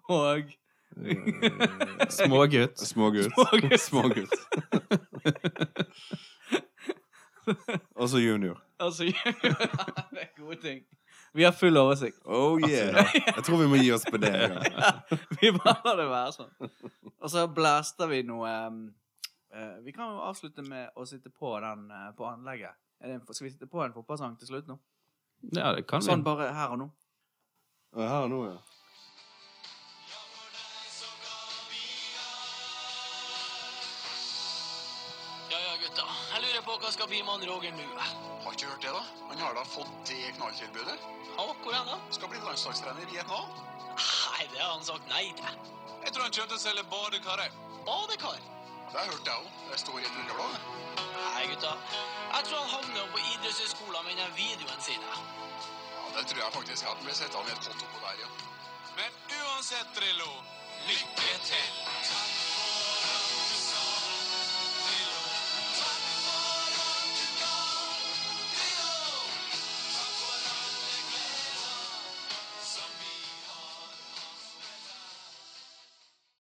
Speaker 3: Og
Speaker 1: Eh,
Speaker 4: Smågutt.
Speaker 1: Smågutt. Smågutt. Og så junior.
Speaker 3: Altså Det er gode ting. Vi har full oversikt.
Speaker 1: Oh yeah. Jeg tror vi må gi oss på det. en gang.
Speaker 3: Vi bare lar det være sånn. Og så blaster vi noe ehm, eh, Vi kan jo avslutte med å sitte på den eh, på anlegget. Er det en, skal vi sitte på en fotballsang til slutt nå?
Speaker 4: Ja, det kan vi.
Speaker 3: Sånn bare her og nå.
Speaker 1: Og Her nå, ja.
Speaker 2: Ja, ja, gutta. Jeg lurer på hva skal bli med han Roger nå?
Speaker 5: Har ikke hørt det, da? Han har da fått det knalltilbudet.
Speaker 2: Ja, hvor er han da?
Speaker 5: Skal bli landslagstrener i Vietnam.
Speaker 2: Nei, det har han sagt nei til.
Speaker 5: Jeg tror han kommer til å selge badekaret.
Speaker 2: Badekar?
Speaker 5: Det hørte jeg òg. Det står i et underblad.
Speaker 2: Nei, gutta. Jeg tror han havner på idrettshøyskolen med den videoen sin. jeg.
Speaker 5: Ja, det tror jeg faktisk at han blir sittende i et konto på der, ja. Men uansett, Drillo, lykke til!